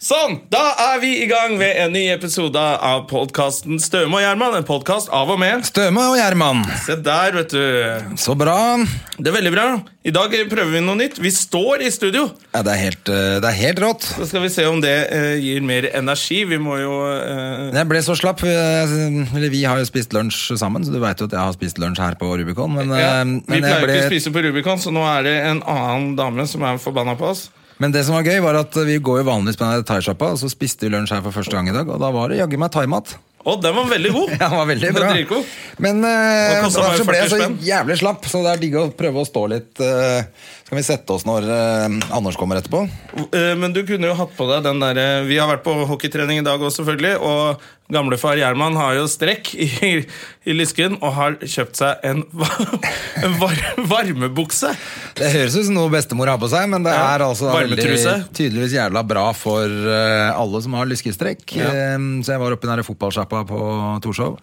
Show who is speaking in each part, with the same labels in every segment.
Speaker 1: Sånn! Da er vi i gang ved en ny episode av podkasten Støme og Gjerman. En podkast av og med.
Speaker 2: Støme og Gjerman.
Speaker 1: Se der, vet du.
Speaker 2: Så bra.
Speaker 1: Det er veldig bra. I dag prøver vi noe nytt. Vi står i studio.
Speaker 2: Ja, det, er helt, eh, det er helt rått.
Speaker 1: Så skal vi se om det eh, gir mer energi. Vi må jo eh,
Speaker 2: Jeg ble så slapp. Vi, eller vi har jo spist lunsj sammen, så du veit jo at jeg har spist lunsj her på Rubicon. Men,
Speaker 1: ja,
Speaker 2: eh,
Speaker 1: Vi
Speaker 2: men,
Speaker 1: pleier
Speaker 2: jeg
Speaker 1: ikke å
Speaker 2: ble,
Speaker 1: spise på Rubicon, så nå er det en annen dame som er forbanna på oss.
Speaker 2: men det som var gøy, var at vi går jo vanligvis på den thaisjappa, og så spiste vi lunsj her for første gang i dag, og da var det jaggu meg thaimat.
Speaker 1: Og den var veldig god!
Speaker 2: Ja, det var veldig
Speaker 1: Den
Speaker 2: bra.
Speaker 1: dritgod.
Speaker 2: Men
Speaker 1: Og
Speaker 2: eh,
Speaker 1: kostet bare
Speaker 2: derfor så ble jeg så
Speaker 1: 40 spenn.
Speaker 2: jævlig slapp, så det er digg å prøve å stå litt. eh, skal vi sette oss når eh, Anders kommer etterpå?
Speaker 1: Eh, Men du kunne jo hatt på deg den derre Vi har vært på hockeytrening i dag òg, selvfølgelig. Og gamlefar Gjerman har jo strekk i, i lysken og har kjøpt seg en, va- en var, varmebukse.
Speaker 2: Det høres ut som noe bestemor har på seg, men det
Speaker 1: Ja,
Speaker 2: er altså veldig,
Speaker 1: varmetruse.
Speaker 2: tydeligvis jævla bra for eh, alle som har lyskestrekk. Eh, så jeg var oppe i den der fotballsjappa på Torshov.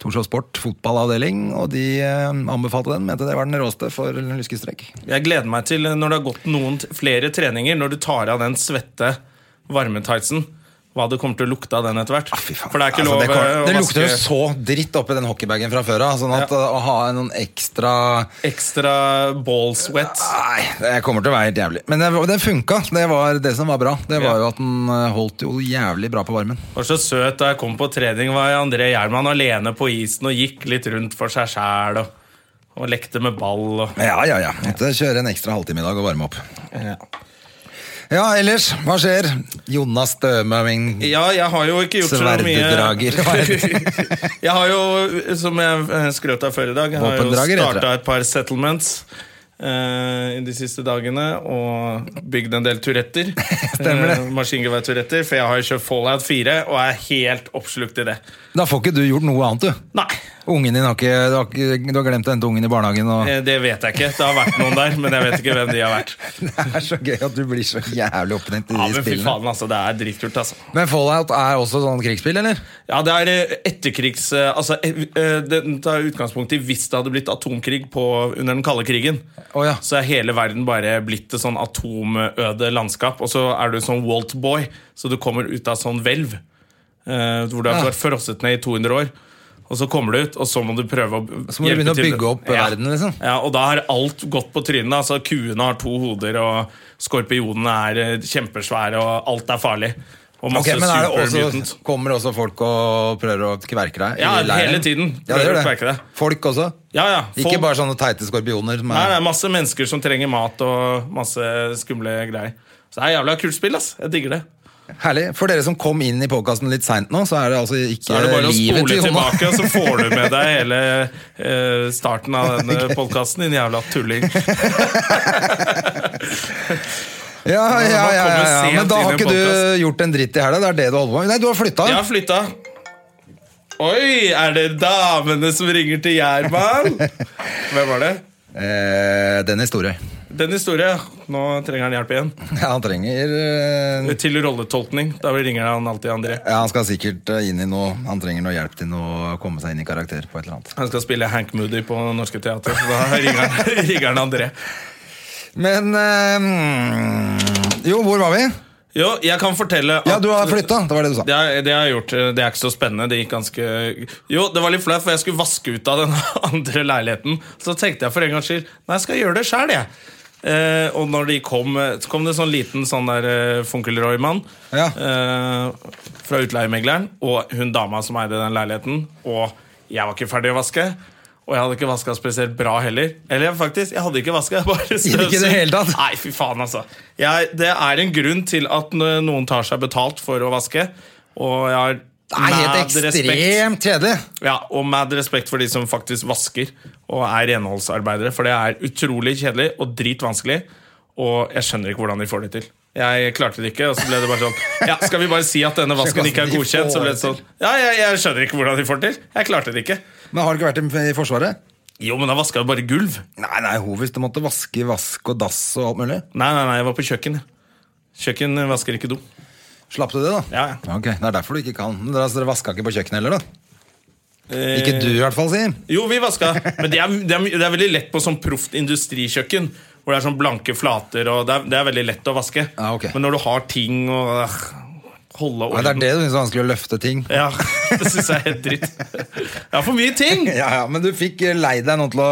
Speaker 2: Torshov Sport fotballavdeling, og de eh, anbefalte den. Mente det var den råeste for lyskestrekk.
Speaker 1: Jeg gleder meg til når det har gått noen t- flere treninger, når du tar av den svette varmetightsen. Hva det kommer til å lukte av den etter hvert. For det er ikke
Speaker 2: Altså,
Speaker 1: lov
Speaker 2: det, kom,
Speaker 1: eh, å
Speaker 2: det lukter jo
Speaker 1: vaske
Speaker 2: så dritt oppi den hockeybagen fra før av, sånn at eh, å ha noen ekstra
Speaker 1: ekstra ball sweat.
Speaker 2: Nei, det kommer til å være helt jævlig. Men det, det funka. Det var det som var bra. Det
Speaker 1: Ja.
Speaker 2: var jo at den eh, holdt jo jævlig bra på varmen.
Speaker 1: Det var så søt da jeg kom på trening, var André Gjerman alene på isen og gikk litt rundt for seg sjæl og, og lekte med ball. Og.
Speaker 2: Ja, ja, ja. Måtte kjøre en ekstra halvtime i dag og varme opp. Ja, ellers, hva skjer? Jonas Støme, min
Speaker 1: Ja, jeg har jo ikke gjort så mye
Speaker 2: Sverdedrager, hva heter
Speaker 1: Jeg har jo, som jeg eh, skrøt av før i dag, jeg har jo
Speaker 2: Våpendrager, heter det.
Speaker 1: starta et par settlements eh, de siste dagene og bygd en del turetter.
Speaker 2: Stemmer det.
Speaker 1: Eh, Maskingevær-turetter, for jeg har jo kjørt Fallout 4 og er helt oppslukt i det.
Speaker 2: Da får ikke du gjort noe annet, du.
Speaker 1: Nei,
Speaker 2: Ungen din har ikke, du, har ikke, du har glemt å hente ungen i barnehagen. Og...
Speaker 1: eh, det vet jeg ikke. Det har vært noen der, men jeg vet ikke hvem de har vært.
Speaker 2: Det er så gøy at du blir så jævlig opphengt i
Speaker 1: Ja,
Speaker 2: de
Speaker 1: men fy
Speaker 2: spillene.
Speaker 1: faen, altså. Det er dritkult, altså.
Speaker 2: Men Fallout er også sånn krigsspill, eller?
Speaker 1: Ja, det er eh, etterkrigs... eh, Altså, eh, eh, den tar utgangspunkt i hvis det hadde blitt atomkrig på, under den kalde krigen.
Speaker 2: Å ja.
Speaker 1: Så er hele verden bare blitt et sånn atomøde landskap. Og så er du sånn Walt-boy, så du kommer ut av sånn hvelv. eh, hvor du har
Speaker 2: Ja.
Speaker 1: vært frosset ned i 200 år. Og så kommer du ut, og så må du prøve å
Speaker 2: Så må du begynne å bygge opp
Speaker 1: ja.
Speaker 2: verden, liksom.
Speaker 1: Ja, og da har alt gått på trynet. altså Kuene har to hoder, og skorpionene er eh, kjempesvære, og alt er farlig. Og
Speaker 2: Ok,
Speaker 1: masse
Speaker 2: men er det
Speaker 1: supermutant.
Speaker 2: også, kommer det også folk og prøver å kverke deg? i
Speaker 1: Ja,
Speaker 2: leiren?
Speaker 1: hele tiden
Speaker 2: Ja, det
Speaker 1: prøver
Speaker 2: gjør
Speaker 1: å
Speaker 2: det.
Speaker 1: kverke deg.
Speaker 2: Folk også?
Speaker 1: Ja, ja.
Speaker 2: Ikke bare sånne teite skorpioner? Som
Speaker 1: Nei, det
Speaker 2: er...
Speaker 1: er masse mennesker som trenger mat og masse skumle greier. Så det er jævla kult spill, ass. Jeg digger det.
Speaker 2: Herlig. For dere som kom inn i podkasten litt seint nå, så er det altså ikke
Speaker 1: Da er det bare å
Speaker 2: livet
Speaker 1: spole
Speaker 2: til Jonas.
Speaker 1: tilbake, og så får du med deg hele eh, starten av denne podkasten, din jævla tulling.
Speaker 2: Ja, ja, ja, ja,
Speaker 1: Altså, kommer
Speaker 2: ja.
Speaker 1: sent
Speaker 2: Men da
Speaker 1: inn i
Speaker 2: har ikke
Speaker 1: podcast.
Speaker 2: du gjort en dritt i helga. Det er det du holder på med. Nei, du har flytta.
Speaker 1: Jeg har flytta. Oi, er det damene som ringer til Gjerman? Hvem var det?
Speaker 2: Eh, den historien.
Speaker 1: Den historien. Nå trenger han hjelp igjen.
Speaker 2: Ja, han trenger eh,
Speaker 1: Til rolletolkning. Da ringer han alltid André.
Speaker 2: ja, Han skal sikkert eh, inn i noe Han trenger noe hjelp til å komme seg inn i karakter på et eller annet.
Speaker 1: Han skal spille Hank Moody på Norske Teater. så Da ringer han, ringer han André.
Speaker 2: Men eh, mm, Jo, hvor var vi?
Speaker 1: Jo, jeg kan fortelle at
Speaker 2: Ja, du har flytta. Det var det du sa.
Speaker 1: det, er, det jeg har gjort, det er ikke så spennende. Det gikk ganske Jo, det var litt flaut, for jeg skulle vaske ut av den andre leiligheten. Så tenkte jeg for en gangs skyld Nei, jeg skal gjøre det sjæl, jeg. Eh, og når de kom, eh, så kom det en sånn liten sånn der eh, Funkelroy-mann
Speaker 2: Ja.
Speaker 1: eh, fra utleiemegleren og hun dama som eide den leiligheten. Og jeg var ikke ferdig å vaske. Og jeg hadde ikke vaska spesielt bra heller. Eller faktisk, jeg hadde ikke vaska. Bare
Speaker 2: det hele tatt?
Speaker 1: Nei, fy faen, altså. Jeg, det er en grunn til at n- noen tar seg betalt for å vaske. Og jeg har
Speaker 2: Det er helt
Speaker 1: respekt,
Speaker 2: ekstremt kjedelig.
Speaker 1: ja, og mad respekt for de som faktisk vasker og er renholdsarbeidere. For det er utrolig kjedelig og dritvanskelig, og jeg skjønner ikke hvordan de får det til. Jeg klarte det ikke, og så ble det bare sånn Ja, Skal vi bare si at denne vasken
Speaker 2: Skjønner
Speaker 1: ikke er
Speaker 2: hvordan de
Speaker 1: godkjent? Så
Speaker 2: får
Speaker 1: ble det
Speaker 2: det
Speaker 1: sånn Ja, jeg, jeg skjønner ikke hvordan de får det til. Jeg klarte det ikke.
Speaker 2: Men har du ikke vært i- i Forsvaret?
Speaker 1: Jo, men da vaska jo bare gulv.
Speaker 2: Nei, nei, Hovis, du måtte vaske vask og dass og alt mulig.
Speaker 1: Nei, nei, nei, jeg var på kjøkken. jeg. Kjøkken vasker ikke do.
Speaker 2: Slapp du det, da?
Speaker 1: Ja, ja.
Speaker 2: Ok, Det er derfor du ikke kan. Men dere, dere vaska ikke på kjøkkenet heller, da?
Speaker 1: Eh,
Speaker 2: Ikke du, i hvert fall, si.
Speaker 1: Jo, vi vaska. Men det er, det, er, det er veldig lett på sånn proft industrikjøkken. Hvor det er sånn blanke flater, og det er, det er veldig lett å vaske.
Speaker 2: Ja, ok.
Speaker 1: Men når du har ting og øh, holde
Speaker 2: Ja, det er
Speaker 1: orden.
Speaker 2: det du syns er vanskelig å løfte ting.
Speaker 1: Ja, det syns jeg er helt dritt. Jeg har for mye ting!
Speaker 2: Ja, ja, Men du fikk eh, lei deg noen til å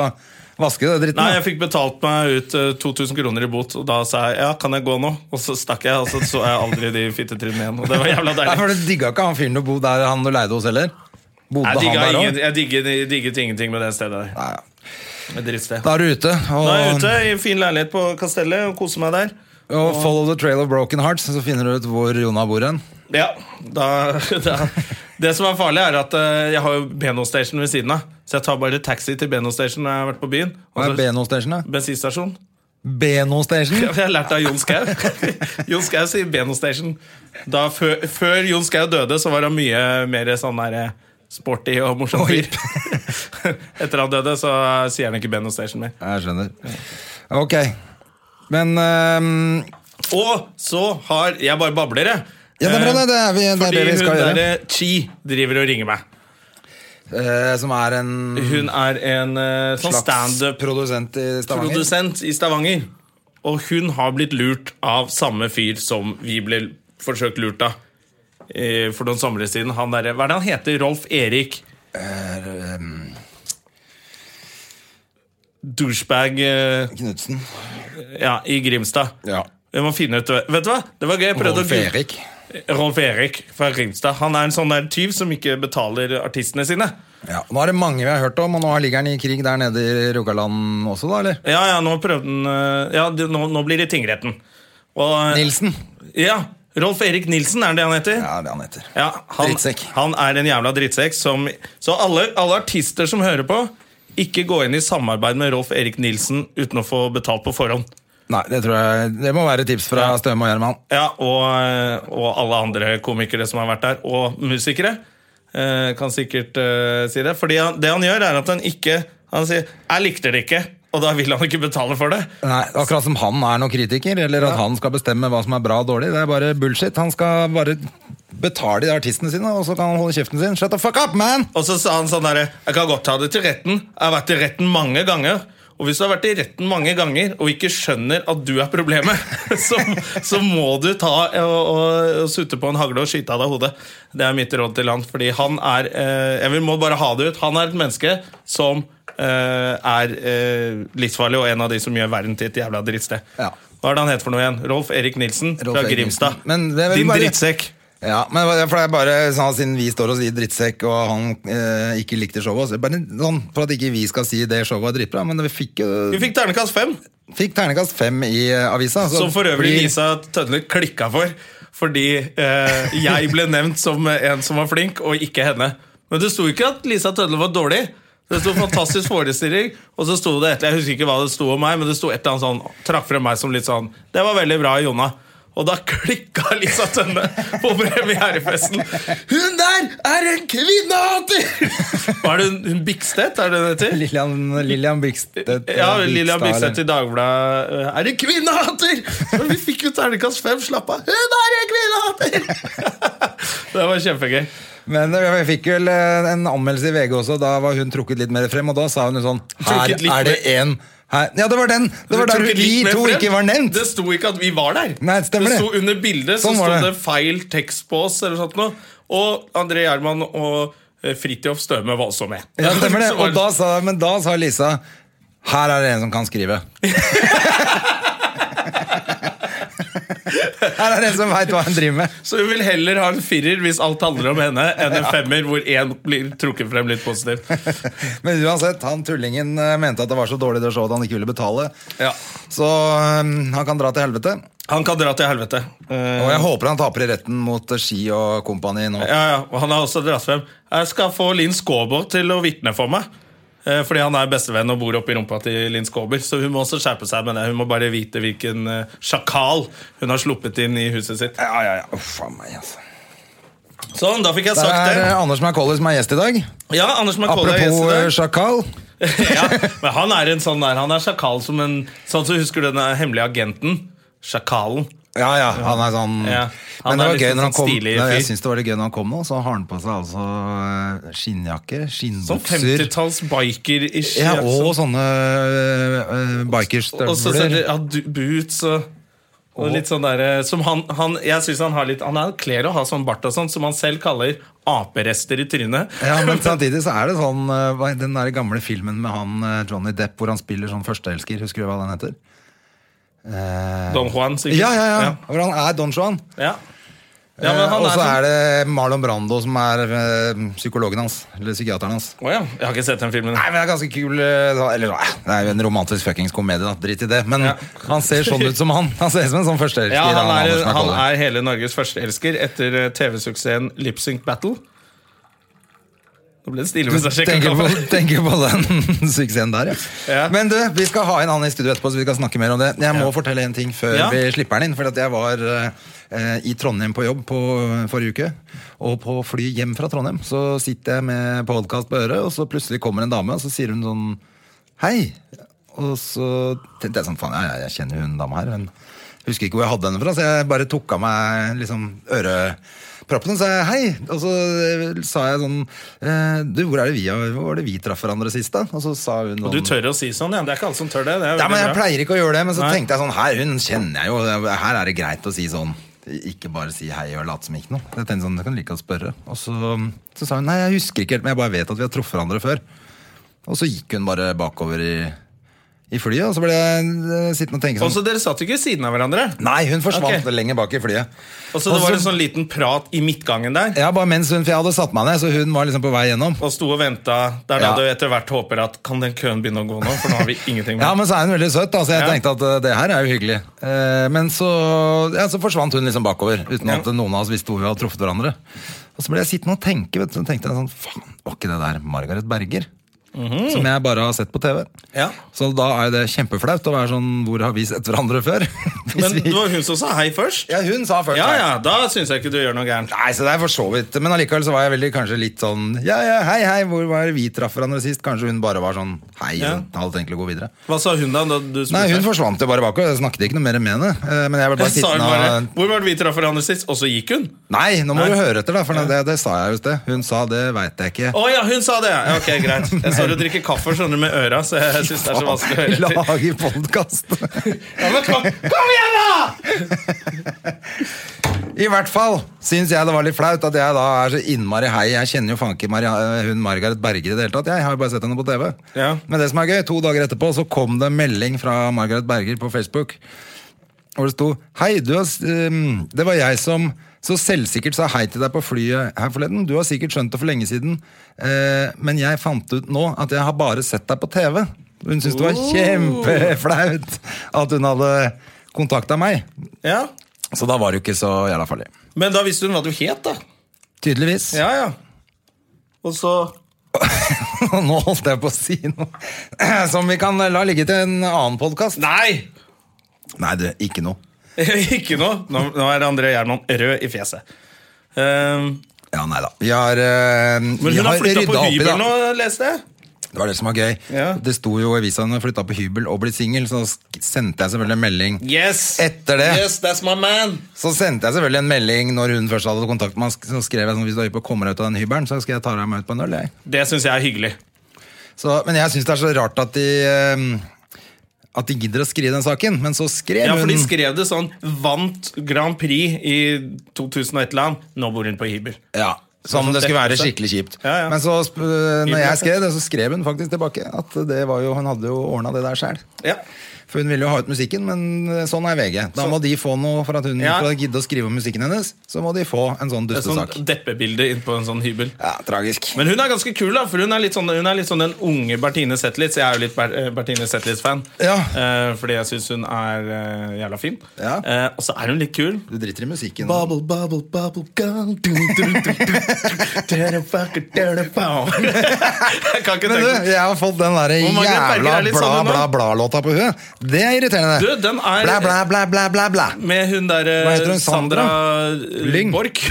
Speaker 2: vaske den dritten?
Speaker 1: Nei,
Speaker 2: da.
Speaker 1: jeg fikk betalt meg ut eh, 2000 kroner i bot, og da sa jeg ja, kan jeg gå nå? Og så stakk jeg, og så så jeg aldri de fittetrinnene igjen. Og det var jævla
Speaker 2: Nei,
Speaker 1: deilig.
Speaker 2: for Du digga ikke han fyren du bodde der han du leide hos heller?
Speaker 1: Jeg
Speaker 2: Bodde han
Speaker 1: digget,
Speaker 2: der
Speaker 1: ingen,
Speaker 2: òg?
Speaker 1: jeg digget, jeg digget ingenting med det stedet der.
Speaker 2: Ja, ja.
Speaker 1: Med drittsted.
Speaker 2: Da er du ute. Og,
Speaker 1: Nå er jeg ute i en fin leilighet på Kastellet og koser meg der.
Speaker 2: og follow the trail of broken hearts, så finner du ut hvor Jonna bor hen.
Speaker 1: Ja, da, da. Det som er farlig, er at eh, jeg har jo Beno Station ved siden av. Så jeg tar bare taxi til Beno Station når jeg har vært på byen.
Speaker 2: Hva
Speaker 1: Og
Speaker 2: er
Speaker 1: så
Speaker 2: Beno Station, da?
Speaker 1: bensinstasjon.
Speaker 2: Beno Station?
Speaker 1: Jeg har lært av Jon Skau. Jon Skau sier Beno Station. Da, før, før Jon Skau døde, så var han mye mer sånn der eh, sporty og morsom fyr. Etter han døde, så sier han ikke Beno Station mer.
Speaker 2: Jeg skjønner. Ok. Men ehm,
Speaker 1: Og så har Jeg bare babler, jeg. Eh,
Speaker 2: Ja, det er bra, det. Det er, vi, det, er
Speaker 1: Fordi
Speaker 2: det vi skal
Speaker 1: hun
Speaker 2: gjøre.
Speaker 1: derre Chi driver og ringer meg.
Speaker 2: Eh, som er en
Speaker 1: Hun er en eh, sånn standup
Speaker 2: produsent i Stavanger.
Speaker 1: produsent i Stavanger. Og hun har blitt lurt av samme fyr som vi ble forsøkt lurt av eh, for noen somre siden. Han derre- hva er det han heter? Rolf Erik
Speaker 2: Er, ehm,
Speaker 1: Douchebag eh,
Speaker 2: Knudsen.
Speaker 1: ja, i Grimstad.
Speaker 2: Ja.
Speaker 1: Vi må finne ut Vet du hva? Det var gøy. Jeg prøvde å
Speaker 2: Rolf
Speaker 1: google-
Speaker 2: Erik.
Speaker 1: Rolf Erik fra Grimstad. Han er en sånn der tyv som ikke betaler artistene sine.
Speaker 2: Ja. Nå er det mange vi har hørt om, og nå ligger han i krig der nede i Rogaland også, da, eller?
Speaker 1: Ja, ja, nå prøvde han eh, Ja, det- nå, nå blir det tingretten. Og, eh,
Speaker 2: Nilsen.
Speaker 1: Ja. Rolf Erik Nilsen, er det det han heter?
Speaker 2: Ja, det er han heter.
Speaker 1: Ja, han,
Speaker 2: Drittsekk.
Speaker 1: han er en jævla drittsekk som Så alle, alle artister som hører på, ikke gå inn i samarbeid med Rolf Erik Nilsen uten å få betalt på forhånd.
Speaker 2: Nei, det tror jeg Det må være tips fra Støme og Gjerman.
Speaker 1: Ja, og, eh, og alle andre komikere som har vært der, og musikere, eh, kan sikkert eh, si det. Fordi han, det han gjør, er at han ikke Han sier 'jeg likte det ikke', og da vil han ikke betale for det.
Speaker 2: Nei, Akkurat som han er noen kritiker, eller at han skal bestemme hva som er bra og dårlig. Det er bare bullshit. Han skal bare betale de artistene sine, og så kan han holde kjeften sin. Shut the fuck up, man!
Speaker 1: Og så sa han sånn derre 'Jeg kan godt ta det til retten. Jeg har vært i retten mange ganger.' Og hvis du har vært i retten mange ganger og ikke skjønner at du er problemet, så, så må du ta og, og, og sutte på en hagle og skyte av deg hodet. Det er mitt råd til han. Fordi han er eh, Jeg vil- må bare ha det ut. Han er et menneske som eh, er eh, livsfarlig, og en av de som gjør verden til et jævla drittsted.
Speaker 2: Ja.
Speaker 1: Hva er det han heter for noe igjen? Rolf Erik Nilsen
Speaker 2: Rolf
Speaker 1: fra
Speaker 2: Erik
Speaker 1: Grimstad.
Speaker 2: Nilsen. Men det er vel
Speaker 1: Din
Speaker 2: bare-
Speaker 1: drittsekk.
Speaker 2: Ja, men det er- for det er bare sånn, Siden vi står og sier drittsekk, og han eh, ikke likte showet så er det bare sånn, For at ikke vi skal si det showet var dritbra, men vi fikk,
Speaker 1: Vi
Speaker 2: jo-
Speaker 1: fikk ternekast fem.
Speaker 2: fikk ternekast fem i eh, avisa. så
Speaker 1: Som for øvrig
Speaker 2: blir-
Speaker 1: Lisa Tønne klikka for. Fordi eh, jeg ble nevnt som en som var flink, og ikke henne. Men det sto ikke at Lisa Tønne var dårlig. Det sto 'fantastisk forestilling', og så sto det et, jeg husker ikke hva det sto om meg, men det sto et eller annet sånn, trakk frem meg som litt sånn 'Det var veldig bra, Jonna'. Og da klikka Lisa Tønne på premierefesten. 'Hun der er en kvinnehater!' Hva er det hun, hun Bikstedt? Er det hun heter?
Speaker 2: Lillian, Lillian Bikstedt.
Speaker 1: Ja, Lillian Bigstedt
Speaker 2: eller-
Speaker 1: i Dagbladet eh, Er en kvinnehater! Men vi fikk jo terningkast fem. Slapp av. Hun er en kvinnehater! det var kjempegøy.
Speaker 2: Men eh, vi fikk vel eh, en anmeldelse i VG også, da var hun trukket litt mer frem, og da sa hun jo sånn
Speaker 1: Trukket litt
Speaker 2: Her er det en her. Ja, det var den! Det var
Speaker 1: Du
Speaker 2: der
Speaker 1: trykket
Speaker 2: vi
Speaker 1: litt mer
Speaker 2: to
Speaker 1: frem.
Speaker 2: ikke var nevnt!
Speaker 1: Det sto ikke at vi var der.
Speaker 2: Nei, det stemmer
Speaker 1: sto
Speaker 2: det.
Speaker 1: Under bildet
Speaker 2: Sånn
Speaker 1: så
Speaker 2: var
Speaker 1: sto
Speaker 2: det.
Speaker 1: det feil tekst på oss. Eller sånt noe. Og André Gjerman og eh, Fridtjof Støme var også med.
Speaker 2: Ja, stemmer det.
Speaker 1: Så var
Speaker 2: Og da sa, men da sa Lisa Her er det en som kan skrive. Her er det en som veit hva han driver med.
Speaker 1: så hun vil heller ha en firer hvis alt handler om henne, enn en femmer hvor én blir trukket frem litt positivt.
Speaker 2: Men uansett, han tullingen eh, mente at det var så dårlig det showet at han ikke ville betale.
Speaker 1: Ja.
Speaker 2: Så eh, han kan dra til helvete.
Speaker 1: Han kan dra til helvete. Eh,
Speaker 2: Og jeg håper han taper i retten mot eh, Ski og kompani nå.
Speaker 1: Ja, ja, og han har også dratt frem Jeg skal få Linn Skåber til å vitne for meg Eh, Fordi han er bestevenn og bor oppe i rumpa til Linn Skåber Så hun må også skjerpe seg med det Hun må bare vite hvilken eh, sjakal hun har sluppet inn i huset sitt
Speaker 2: Ja, ja, ja. Uff a meg, altså.
Speaker 1: Sånn, da fikk jeg
Speaker 2: Det
Speaker 1: sagt
Speaker 2: er eh,
Speaker 1: det
Speaker 2: Anders McCauley som er gjest i dag.
Speaker 1: Ja, Anders McCauley er gjest i
Speaker 2: Apropos eh,
Speaker 1: dag
Speaker 2: sjakal.
Speaker 1: ja, Men han er en sånn der Han er sjakal som en Sånn som husker du den der hemmelige agenten Sjakalen
Speaker 2: Ja, ja, han er sånn
Speaker 1: Ja, han
Speaker 2: Men det
Speaker 1: er
Speaker 2: var
Speaker 1: litt
Speaker 2: gøy
Speaker 1: sånn
Speaker 2: når han kom
Speaker 1: stilig
Speaker 2: Nei, Jeg
Speaker 1: fyr.
Speaker 2: synes det var litt gøy når han kom nå, så har han på seg altså eh, skinnjakke,
Speaker 1: Sånn
Speaker 2: skinnbukser
Speaker 1: 50-talls biker-ish
Speaker 2: ja,
Speaker 1: sånn.
Speaker 2: og sånne uh,
Speaker 1: Og så
Speaker 2: bikerstøvler.
Speaker 1: sender ja, du- boots og Og litt sånn der, eh, som han, han, jeg synes han har litt Han er kler å ha sånn bart og sånn, som han selv kaller aperester i trynet.
Speaker 2: Ja, men samtidig så er det sånn eh, hva- Den der gamle filmen med han eh, Johnny Depp hvor han spiller sånn førsteelsker, husker du hva den heter? Eh,
Speaker 1: Don Juan, sikkert.
Speaker 2: Ja, ja, ja, Hvor han er Don Juan.
Speaker 1: Ja. Ja, men
Speaker 2: Eh,
Speaker 1: han
Speaker 2: og så
Speaker 1: sånn-
Speaker 2: er det Marlon Brando som er eh, psykologen hans. Eller psykiateren hans.
Speaker 1: Å ja. Jeg har ikke sett den filmen.
Speaker 2: Nei, men det er ganske kul eh, da- Eller nei, det er jo en romantisk fuckings komedie, da. Drit i det. Men
Speaker 1: Ja.
Speaker 2: han ser sånn ut som han. Han ser ut som en sånn førsteelsker.
Speaker 1: Ja, han er,
Speaker 2: Andersen
Speaker 1: han
Speaker 2: Kolle.
Speaker 1: er hele Norges førsteelsker etter eh, TV-suksessen Lip Sync Battle. Nå ble det stille mens
Speaker 2: Du
Speaker 1: jeg sjekket
Speaker 2: tenker på,
Speaker 1: kaffen.
Speaker 2: tenker på den suksessen der, ja.
Speaker 1: Ja.
Speaker 2: Men du, vi skal ha inn han i studio etterpå, så vi skal snakke mer om det. Jeg må fortelle en ting før
Speaker 1: Ja.
Speaker 2: vi slipper han inn. For at jeg var eh, i Trondheim på jobb på forrige uke. Og på fly hjem fra Trondheim så sitter jeg med podkast på øret, og så plutselig kommer en dame, og så sier hun sånn Hei. Og så tenkte jeg sånn, faen, jeg, jeg kjenner jo hun dama her, men husker ikke hvor jeg hadde henne fra, så jeg bare tok av meg liksom øreproppene og sa hei. Og så eh, sa jeg sånn, eh, du, hvor er det vi, hvor var det vi traff hverandre sist da? Og så sa hun sånn,
Speaker 1: Du tør å si sånn, ja. Det er ikke alle som tør det. det er
Speaker 2: ja, men jeg
Speaker 1: veldig bra.
Speaker 2: pleier ikke å gjøre det, men så
Speaker 1: Nei.
Speaker 2: tenkte jeg sånn, her hun kjenner jeg jo, her er det greit å si sånn, ikke bare si hei og late som ikke noe. Jeg tenkte sånn, jeg kan like å spørre. Og så, så sa hun, nei, jeg husker ikke helt, men jeg bare vet at vi har truffet hverandre før. Og så gikk hun bare bakover i, i flyet, og så ble jeg eh, sittende og tenke
Speaker 1: Og
Speaker 2: sånn,
Speaker 1: så Dere satt ikke ved siden av hverandre.
Speaker 2: nei, hun forsvant
Speaker 1: Ok.
Speaker 2: lenger bak i flyet.
Speaker 1: Og så Det var en sånn liten prat i midtgangen der.
Speaker 2: Ja, bare mens hun, for jeg hadde satt meg ned, så hun var liksom på vei gjennom.
Speaker 1: Og sto og venta. Det er da
Speaker 2: Ja.
Speaker 1: du etter hvert håper at Kan den køen begynne å gå nå? For nå har vi ingenting
Speaker 2: Ja,
Speaker 1: med
Speaker 2: men så er hun veldig søt, da, så jeg
Speaker 1: Ja.
Speaker 2: tenkte at eh, det her er jo hyggelig. Eh, men så, ja, så forsvant hun liksom bakover, uten
Speaker 1: Ja.
Speaker 2: at noen av oss visste hvor vi hadde truffet hverandre. Og så ble jeg sittende og tenke, vet du, så tenkte jeg sånn, faen, var ikke det der Margaret Berger?
Speaker 1: Mhm.
Speaker 2: Som jeg bare har sett på TV.
Speaker 1: Ja.
Speaker 2: Så da er det kjempeflaut å være sånn, hvor har vi sett hverandre før? Hvis
Speaker 1: Men
Speaker 2: vi-
Speaker 1: det var hun som sa hei først.
Speaker 2: Ja, hun sa først.
Speaker 1: Ja
Speaker 2: her.
Speaker 1: ja, da syns jeg ikke du gjør noe gærent.
Speaker 2: Nei, så det er for så vidt Men allikevel så var jeg veldig kanskje litt sånn Ja, ja, hei, hei, hvor var det vi traff hverandre sist? Kanskje hun bare var sånn, hei,
Speaker 1: Ja.
Speaker 2: hun hadde tenkt å gå videre
Speaker 1: Hva sa hun da? da du spurte?
Speaker 2: Nei, hun forsvant jo bare bakover. Jeg snakket ikke noe mer med henne. Eh, Men jeg ble bare
Speaker 1: Sa hun
Speaker 2: sittende
Speaker 1: bare,
Speaker 2: og
Speaker 1: Hvor var det vi traff hverandre sist? Og så gikk hun?
Speaker 2: Nei, nå må
Speaker 1: Nei.
Speaker 2: du høre etter, da, for det, det sa jeg jo i sted. Hun sa 'det veit jeg ikke'.
Speaker 1: Å ja, hun sa det! ja. Ja, Ok, Greit. Jeg står og drikker kaffe skjønner du, med øra, så jeg syns det er så vanskelig å høre. etter.
Speaker 2: Lage podkast!
Speaker 1: Ja, men kom, kom igjen, da!
Speaker 2: I hvert fall syns jeg det var litt flaut at jeg da er så innmari hei. Jeg kjenner jo faen ikke Maria- eh, hun Margaret Berger i det hele tatt. Jeg har jo bare sett henne på TV.
Speaker 1: Ja.
Speaker 2: Men det som er gøy, to dager etterpå så kom det en melding fra Margaret Berger på Facebook. Hvor det sto Hei, du har, s- ehm, det var jeg som så selvsikkert sa hei til deg på flyet her forleden. Du har sikkert skjønt det for lenge siden, eh, men jeg fant ut nå at jeg har bare sett deg på TV. Hun syntes det var kjempeflaut at hun hadde kontakta meg.
Speaker 1: Ja,
Speaker 2: Så da var det jo ikke så jævla farlig.
Speaker 1: Men da visste hun hva du het, da.
Speaker 2: Tydeligvis.
Speaker 1: Ja, ja. Og så
Speaker 2: Nå holdt jeg på å si noe som vi kan la ligge til en annen podkast.
Speaker 1: Nei!
Speaker 2: Nei, du, ikke noe.
Speaker 1: Ikke noe. Nå, nå er André Gjerman rød i fjeset. Ehm,
Speaker 2: Ja, nei da. Vi har, eh,
Speaker 1: men
Speaker 2: vi
Speaker 1: hun har flytta
Speaker 2: rydda
Speaker 1: på
Speaker 2: opp i det.
Speaker 1: hybel nå, leste jeg.
Speaker 2: Det var det som var gøy.
Speaker 1: Ja.
Speaker 2: Det sto jo i avisa hun flytta på hybel og blitt singel, så sk- sendte jeg selvfølgelig en melding.
Speaker 1: Yes!
Speaker 2: Etter det
Speaker 1: Yes, that's my man!
Speaker 2: så sendte jeg selvfølgelig en melding når hun først hadde kontakt med meg. sk- Så skrev jeg sånn hvis du er på å komme deg ut av den hybelen, så skal jeg ta deg med ut på en øl. Jeg.
Speaker 1: Det syns jeg er hyggelig.
Speaker 2: Så, men jeg syns det er så rart at de eh, At de gidder å skrive den saken. Men så skrev
Speaker 1: Ja, for
Speaker 2: hun
Speaker 1: de skrev det sånn. Vant Grand Prix i 2000 og et eller annet. Nå bor hun på hybel.
Speaker 2: Ja, Som det skulle være skikkelig kjipt.
Speaker 1: Ja, ja.
Speaker 2: Men så sp- eh, når jeg skrev det, så skrev hun faktisk tilbake at det var jo, hun hadde jo ordna det der sjæl.
Speaker 1: Ja.
Speaker 2: For hun ville jo ha ut musikken, men sånn er VG. Da må de få noe for at hun
Speaker 1: Ja.
Speaker 2: for å gidde å skrive om musikken hennes. Så må de få en sånn
Speaker 1: Det er
Speaker 2: dustesak.
Speaker 1: sånn deppebilde inn på en sånn hybel.
Speaker 2: Ja, tragisk.
Speaker 1: Men hun er ganske kul, da, for hun er litt sånn, hun er litt sånn den unge Bertine Zetlitz. Jeg er jo litt Ber eh, Bertine Zetlitz-fan,
Speaker 2: Ja.
Speaker 1: eh, fordi jeg syns hun er eh, jævla fin.
Speaker 2: Ja.
Speaker 1: Eh, og så er hun litt kul.
Speaker 2: Du driter i musikken.
Speaker 1: Bubble, bubble, bubble gum Du, du, du, du, du. Terrifier, terrifier. Jeg kan ikke
Speaker 2: Men du,
Speaker 1: tenke
Speaker 2: jeg har fått den der
Speaker 1: Hvor mange farger
Speaker 2: jævla
Speaker 1: er litt sånn nå?
Speaker 2: bla-bla-bla-låta på huet. Det er irriterende.
Speaker 1: Du, den er-
Speaker 2: Bla, bla, bla, bla, bla, bla.
Speaker 1: Med hun der eh,
Speaker 2: Hva heter hun,
Speaker 1: Sandra,
Speaker 2: Sandra?
Speaker 1: eh,
Speaker 2: Lyng?
Speaker 1: Borch.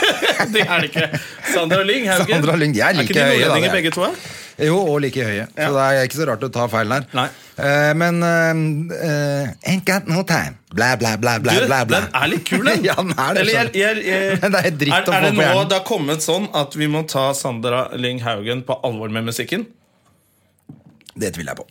Speaker 1: det er det ikke. Sandra Lyng. Haugen.
Speaker 2: Sandra Lyng, de er like
Speaker 1: ikke de
Speaker 2: høye, da,
Speaker 1: nordlendinger
Speaker 2: det er.
Speaker 1: begge to? da?
Speaker 2: Jo, og like høye. Så det er ikke så rart å ta feil der.
Speaker 1: Nei.
Speaker 2: Eh, men eh, eh, Ain't got no time. Bla, bla, bla, bla,
Speaker 1: Du,
Speaker 2: bla. bla.
Speaker 1: Den er litt kul, den.
Speaker 2: ja, den er det.
Speaker 1: Eller, jeg,
Speaker 2: skjønner du.
Speaker 1: jeg, jeg,
Speaker 2: Men det er dritt
Speaker 1: er,
Speaker 2: å
Speaker 1: er
Speaker 2: få
Speaker 1: det
Speaker 2: på
Speaker 1: nå
Speaker 2: hjernen.
Speaker 1: det har kommet sånn at vi må ta Sandra Lyng Haugen på alvor med musikken?
Speaker 2: Det tviler jeg på.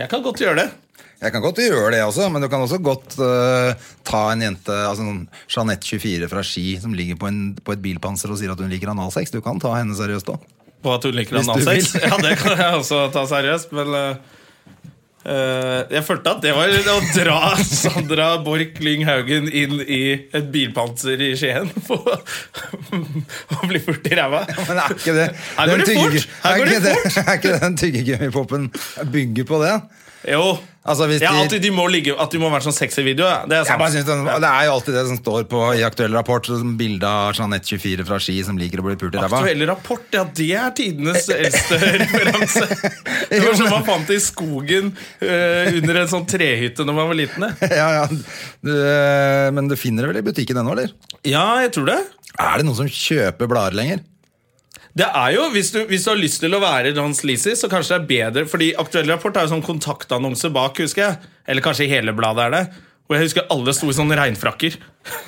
Speaker 1: Jeg kan godt gjøre det.
Speaker 2: Jeg kan godt gjøre det også, men du kan også godt eh, ta en jente, altså noen Jeanette 24 fra Ski, som ligger på, en, på et bilpanser og sier at hun liker analsex. Du kan ta henne seriøst òg.
Speaker 1: På at hun liker
Speaker 2: Hvis du
Speaker 1: analsex?
Speaker 2: vil.
Speaker 1: Ja, det kan jeg også ta seriøst, men eh, eh, Jeg følte at det var å dra Sandra Borch Lyng Haugen inn i et bilpanser i Skien for å bli furt i ræva.
Speaker 2: Men er ikke det
Speaker 1: Her går
Speaker 2: den
Speaker 1: det
Speaker 2: tygge-
Speaker 1: fort! Her
Speaker 2: er
Speaker 1: går
Speaker 2: ikke
Speaker 1: det
Speaker 2: Er ikke det den tyggegummipopen bygger på det?
Speaker 1: Jo.
Speaker 2: Altså, hvis
Speaker 1: Ja,
Speaker 2: de-
Speaker 1: at de må ligge At de må være sånn sexy video, ja. det er
Speaker 2: Jeg bare
Speaker 1: sant.
Speaker 2: synes den, Det er jo alltid det som står på i aktuell rapport, som bilde av Jeanette 24 fra Ski som liker å bli pult i ræva.
Speaker 1: Aktuell rapport, ja, det er tidenes eldste referanse. Det var som man fant i skogen eh, under en sånn trehytte når man var liten. det.
Speaker 2: Ja, ja. Du, eh, men du finner det vel i butikken ennå, eller?
Speaker 1: Ja, jeg tror det.
Speaker 2: Er det noen som kjøper blader lenger?
Speaker 1: Det er jo, hvis du, hvis du har lyst til å være Don Sleazy, så kanskje det er bedre Fordi Aktuell Rapport er jo sånn kontaktannonse bak, husker jeg. Eller kanskje i hele bladet er det. Og jeg husker alle sto i sånne regnfrakker.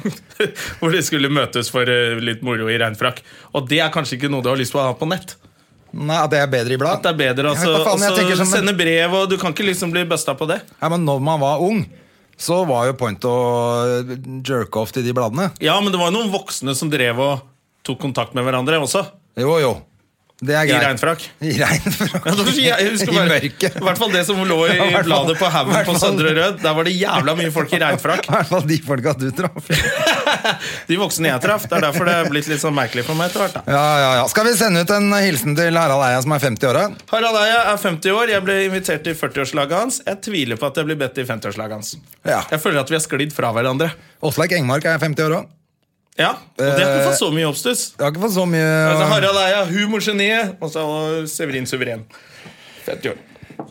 Speaker 1: Hvor de skulle møtes for eh, litt moro i regnfrakk. Og det er kanskje ikke noe du har lyst til å ha på nett.
Speaker 2: Nei, At det er bedre i blad?
Speaker 1: Det er bedre altså,
Speaker 2: Ja, hva faen, jeg tenker
Speaker 1: altså,
Speaker 2: som-
Speaker 1: sende brev, og du kan ikke liksom bli busta på det.
Speaker 2: Ja, men når man var ung, så var jo point å jerke off til de bladene.
Speaker 1: Ja, men det var jo noen voksne som drev og tok kontakt med hverandre også.
Speaker 2: Jo, jo. Det er
Speaker 1: I
Speaker 2: greit.
Speaker 1: regnfrakk.
Speaker 2: I regnfrakk.
Speaker 1: Ja, det var så jæ- jeg husker
Speaker 2: I
Speaker 1: bare,
Speaker 2: mørket.
Speaker 1: I hvert fall det som lå i
Speaker 2: Ja, i hvert fall-
Speaker 1: bladet på haugen
Speaker 2: hvert
Speaker 1: på
Speaker 2: fall-
Speaker 1: Søndre Rød. Der var det jævla mye folk i regnfrakk.
Speaker 2: I hvert fall de folka du traff.
Speaker 1: De voksne jeg traff. Det er derfor det er blitt litt sånn merkelig for meg etter hvert. da.
Speaker 2: Ja, ja, ja. Skal vi sende ut en hilsen til Harald Eia som er 50 år? da?
Speaker 1: Harald Eia er 50 år. Jeg ble invitert til 40-årslaget hans. Jeg tviler på at jeg blir bedt til 50-årslaget hans.
Speaker 2: Ja.
Speaker 1: Jeg føler at vi har sklidd fra hverandre.
Speaker 2: Åsleik Engmark er 50 år òg.
Speaker 1: Ja, Og det har ikke fått så mye oppstuss.
Speaker 2: Jeg har ikke fått så mye
Speaker 1: Altså, Harald Eia, humorgeniet, og så Severin Suveren. 50 år.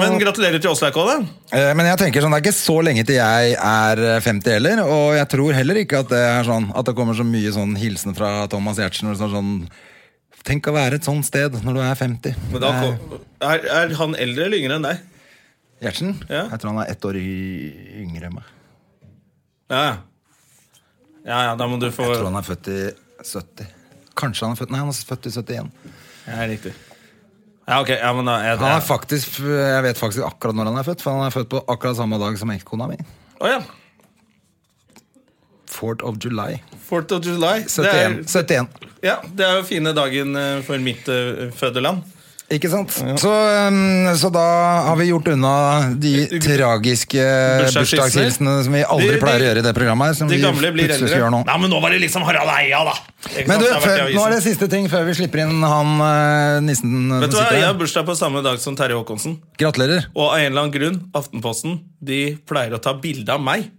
Speaker 1: Men gratulerer til Åsleik òg, da.
Speaker 2: Eh, Men jeg tenker sånn, det er ikke så lenge til jeg er eh, 50 heller, og jeg tror heller ikke at det er sånn at det kommer så mye sånn hilsen fra Thomas Giertsen. hvor det står Sånn, Tenk å være et sånt sted når du er Eh, 50.
Speaker 1: Men da
Speaker 2: Det er-
Speaker 1: kom, er, er han eldre eller yngre enn deg?
Speaker 2: Gjertsen?
Speaker 1: Ja.
Speaker 2: Jeg tror han er ett år y- yngre enn meg.
Speaker 1: Ja, ja. ja, ja da må du få
Speaker 2: Jeg tror han er født i 70. Kanskje han er født Nei, han er født i 71.
Speaker 1: Ja, riktig. Ja, ok. Ja, men da, jeg,
Speaker 2: Han er faktisk, Jeg vet faktisk akkurat når han er født, for han er født på akkurat samme dag som ekskona mi.
Speaker 1: Å ja.
Speaker 2: Fort of July.
Speaker 1: 4th of July. Det er,
Speaker 2: 71. 71.
Speaker 1: ja, det er jo fine dagen eh, for mitt eh, fødeland.
Speaker 2: Ikke sant? Så, um, så da har vi gjort unna Eh, de tragiske bursdagshilsene som vi aldri
Speaker 1: De- de-
Speaker 2: pleier å gjøre i det programmet. her, Som
Speaker 1: De
Speaker 2: vi
Speaker 1: gamle blir
Speaker 2: plutselig
Speaker 1: eldre.
Speaker 2: skal gjøre nå.
Speaker 1: Nei, men nå var det liksom Harald Eia, da! Ikke
Speaker 2: Men
Speaker 1: sant?
Speaker 2: du,
Speaker 1: Det har vært i
Speaker 2: før, nå er det
Speaker 1: avisen.
Speaker 2: siste ting før vi slipper inn han eh, nissen som
Speaker 1: Vet du hva,
Speaker 2: sitter
Speaker 1: Jeg har
Speaker 2: her.
Speaker 1: bursdag på samme dag som Terje Håkonsen.
Speaker 2: Gratulerer.
Speaker 1: Og av en eller annen grunn, Aftenposten, de pleier å ta bilde av meg.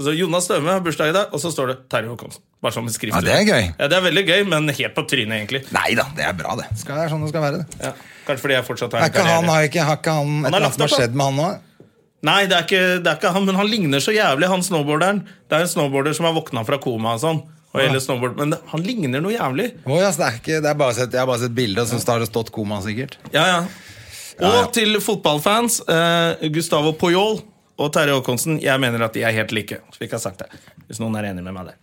Speaker 1: Altså, Jonas Støme har bursdag i dag, og så står det Terje Håkonsen. Bare som en skriftlig.
Speaker 2: Ja, det er gøy.
Speaker 1: Ja, det er veldig gøy, men helt på trynet, egentlig.
Speaker 2: Nei da, det er bra, det. Skal, det er sånn det skal være. det.
Speaker 1: Ja. Kanskje fordi jeg fortsatt har
Speaker 2: Er
Speaker 1: en
Speaker 2: ikke han,
Speaker 1: karriere.
Speaker 2: har ikke, har ikke han et
Speaker 1: har
Speaker 2: eller
Speaker 1: lagt
Speaker 2: annet som har
Speaker 1: opp, da.
Speaker 2: skjedd med han nå?
Speaker 1: Nei, det er, ikke, det er ikke han, men han ligner så jævlig, han snowboarderen. Det er en snowboarder som har våkna fra koma og sånn. Og hele snowboard, men det- han ligner noe jævlig.
Speaker 2: Å, ja, så det er ikke, det er bare sett, jeg har bare sett bilde, og så har det stått koma, sikkert.
Speaker 1: Ja, ja. Og til fotballfans, eh, Gustavo Poyol og Terje Håkonsen, jeg mener at de er helt like. Så vi ikke har sagt det, hvis noen er enig med meg der.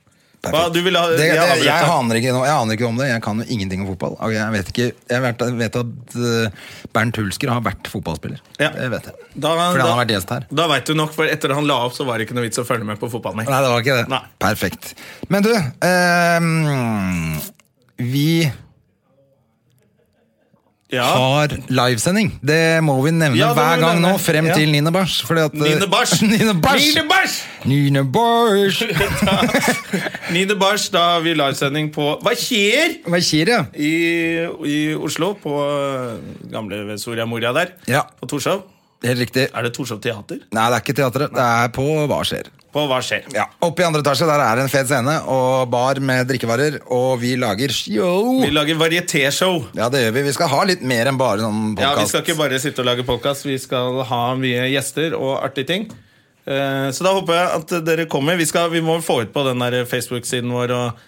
Speaker 1: Hva, du vil ha,
Speaker 2: Det, det,
Speaker 1: jeg har avbrutt
Speaker 2: jeg,
Speaker 1: deg.
Speaker 2: aner ikke, noe- jeg aner ikke om det. Jeg kan jo ingenting om fotball. Og Jeg vet, ikke, jeg vet, vet at eh, Bernt Hulsker har vært fotballspiller.
Speaker 1: Ja.
Speaker 2: Det vet jeg.
Speaker 1: Da-
Speaker 2: Fordi
Speaker 1: da-
Speaker 2: han har vært gjest her.
Speaker 1: Da veit du nok, for etter han la opp, så var det ikke noe vits å følge med på fotball mer.
Speaker 2: Nei, det var ikke det.
Speaker 1: Nei.
Speaker 2: Perfekt. Men du ehm, Vi
Speaker 1: Ja.
Speaker 2: har livesending. Det må vi nevne
Speaker 1: Ja, det må
Speaker 2: hver
Speaker 1: vi
Speaker 2: gang
Speaker 1: nevne.
Speaker 2: nå, frem
Speaker 1: Ja.
Speaker 2: til Nine Bars. Fordi at, eh,
Speaker 1: Nine Bars!
Speaker 2: Nine Bars!
Speaker 1: Nine Bars!
Speaker 2: Nine Bars!
Speaker 1: Nine Bars, da har vi livesending på Hva skjer?
Speaker 2: Hva skjer, ja?
Speaker 1: i, i Oslo, på eh, gamle ved Soria Moria der.
Speaker 2: Ja.
Speaker 1: På Torshov.
Speaker 2: Helt riktig.
Speaker 1: Er det Torshov Teater?
Speaker 2: Nei, det er ikke teatret. Det er på Hva skjer.
Speaker 1: På Hva skjer?
Speaker 2: Ja, Oppe i andre etasje der er det en fet scene og bar med drikkevarer, og vi lager show.
Speaker 1: Vi lager varietéshow.
Speaker 2: Ja, det gjør vi. Vi skal ha litt mer enn bare sånn
Speaker 1: Ja, vi
Speaker 2: podkast.
Speaker 1: skal ikke bare sitte og lage podkast, vi skal ha mye gjester og artige ting. Eh, Så da håper jeg at dere kommer. Vi, skal, vi må få ut på den der Facebook-siden vår og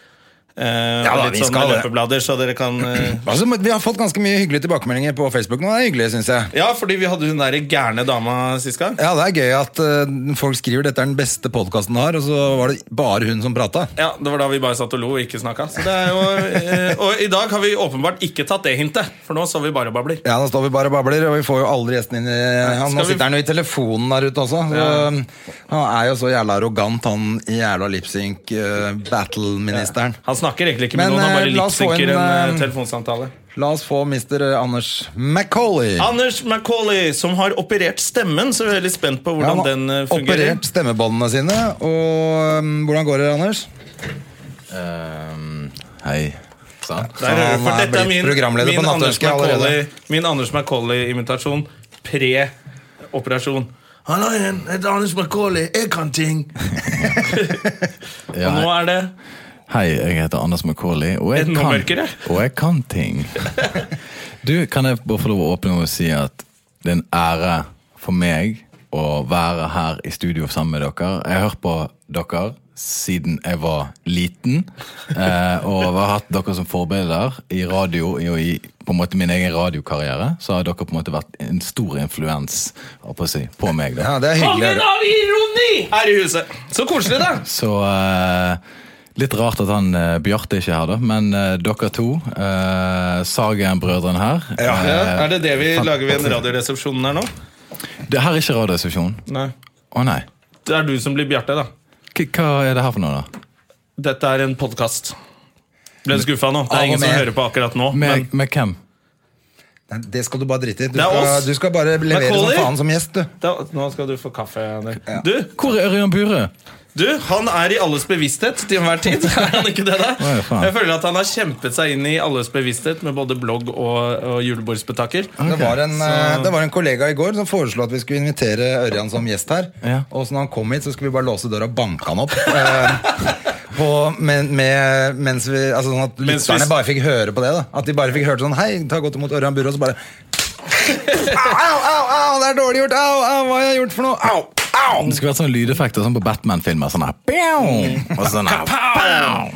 Speaker 1: Eh,
Speaker 2: Ja da,
Speaker 1: litt
Speaker 2: vi
Speaker 1: sånn med
Speaker 2: skal det.
Speaker 1: løpeblader, så dere kan eh,
Speaker 2: Altså, vi har fått ganske mye hyggelige tilbakemeldinger på Facebook nå. Det er hyggelig, synes jeg.
Speaker 1: Ja, fordi vi hadde hun der gærne dama sist gang.
Speaker 2: Ja, det er gøy at eh, folk skriver dette er den beste podkasten har, og så var det bare hun som prata.
Speaker 1: Ja, Det var da vi bare satt og lo og ikke snakka. Så det er jo, eh, og i dag har vi åpenbart ikke tatt det hintet, for nå så vi bare og babler.
Speaker 2: Ja, nå står vi bare og babler, og vi får jo aldri gjestene inn i han,
Speaker 1: Skal
Speaker 2: Nå
Speaker 1: vi-
Speaker 2: sitter han jo i telefonen der ute også. Så, um, Han er jo så jævla arrogant, han jævla eh, lipsync-battle-ministeren.
Speaker 1: Han snakker egentlig ikke
Speaker 2: Men,
Speaker 1: med noen, han
Speaker 2: eh,
Speaker 1: bare
Speaker 2: la oss få
Speaker 1: lipsynker
Speaker 2: en,
Speaker 1: en, eh,
Speaker 2: eh,
Speaker 1: telefonsamtale.
Speaker 2: La oss få Mr. Anders MacAuley.
Speaker 1: Anders Macauley, som har operert stemmen, så vi er veldig spent på
Speaker 2: Han
Speaker 1: hvordan
Speaker 2: har
Speaker 1: den eh, fungerer.
Speaker 2: operert stemmebåndene sine, og um, hvordan går det, Anders?
Speaker 3: Ehm, hei, sa han.
Speaker 1: Der hører du,
Speaker 2: Han
Speaker 1: for
Speaker 2: er
Speaker 1: dette er
Speaker 2: blitt
Speaker 1: min,
Speaker 2: programleder på
Speaker 1: min, Anders
Speaker 2: Nattønsket allerede.
Speaker 1: Macaulay, min Anders Macaulay-imitasjon pre-operasjon. Hallo igjen, jeg heter Anders Macaulay, jeg kan ting.
Speaker 3: Ja,
Speaker 1: Og nå er det
Speaker 3: hei, jeg heter Anders McCauley, og jeg,
Speaker 1: Enda
Speaker 3: kan,
Speaker 1: mørkere.
Speaker 3: og jeg kan ting. Du, kan jeg bare få lov å åpne og si at det er en ære for meg å være her i studio sammen med dere. Jeg har hørt på dere siden jeg var liten, eh, og har hatt dere som forbilder i radio i- og i på en måte min egen radiokarriere. Så har dere på en måte vært en stor influens holdt på, å si, på meg. da.
Speaker 2: Ja, det er hyggelig. å
Speaker 1: Kongen
Speaker 2: høre.
Speaker 1: av ironi her i huset! Så koselig, da!
Speaker 3: Så eh, litt rart at han eh, Bjarte ikke er her, da. Men eh, dere to, eh, Sagen-brødrene her
Speaker 1: Ja,
Speaker 3: eh,
Speaker 1: er det det vi lager ved en radioresepsjon her nå?
Speaker 3: Det her er ikke Radioresepsjonen.
Speaker 1: Nei.
Speaker 3: Å nei.
Speaker 1: Det er du som blir Bjarte, da.
Speaker 3: K hva er det her for noe, da?
Speaker 1: Dette er en podkast. Ble skuffa nå. Det er
Speaker 2: Av og
Speaker 1: ingen som
Speaker 2: med.
Speaker 1: hører på akkurat nå. Men
Speaker 3: Med, med hvem?
Speaker 2: Nei, Det skal du bare drite i. Du,
Speaker 1: Det er
Speaker 2: skal-
Speaker 1: oss.
Speaker 2: du skal bare levere som
Speaker 1: Macaulay?
Speaker 2: faen som gjest, du.
Speaker 1: da, nå skal du få kaffe. Henrik. Du,
Speaker 3: Hvor er Ørjan Bure?
Speaker 1: Du, han er i alles bevissthet til enhver tid. Er han ikke det da?
Speaker 3: Oi, faen.
Speaker 1: Jeg føler at han har kjempet seg inn i alles bevissthet med både blogg og, og julebordspetakkel.
Speaker 2: Det, var en, eh, det var en kollega i går som foreslo at vi skulle invitere Ørjan som gjest her.
Speaker 3: Ja.
Speaker 2: Og så når han kom hit, så skulle vi bare låse døra og banke han opp. Eh, på, men, med, mens vi, altså sånn at
Speaker 1: Mens vi-
Speaker 2: lytterne bare fikk høre på det. da At de bare fikk høre sånn Hei, ta godt imot Ørjan Burre. Og så bare Au, au, au, au, det er dårlig gjort! Au, au, hva har jeg gjort for noe? Au! Au!
Speaker 3: Det skulle vært sånne lydeffekter sånn på Batman-filmer. Sånn her «Bjau!» Og sånn her «Bjau!»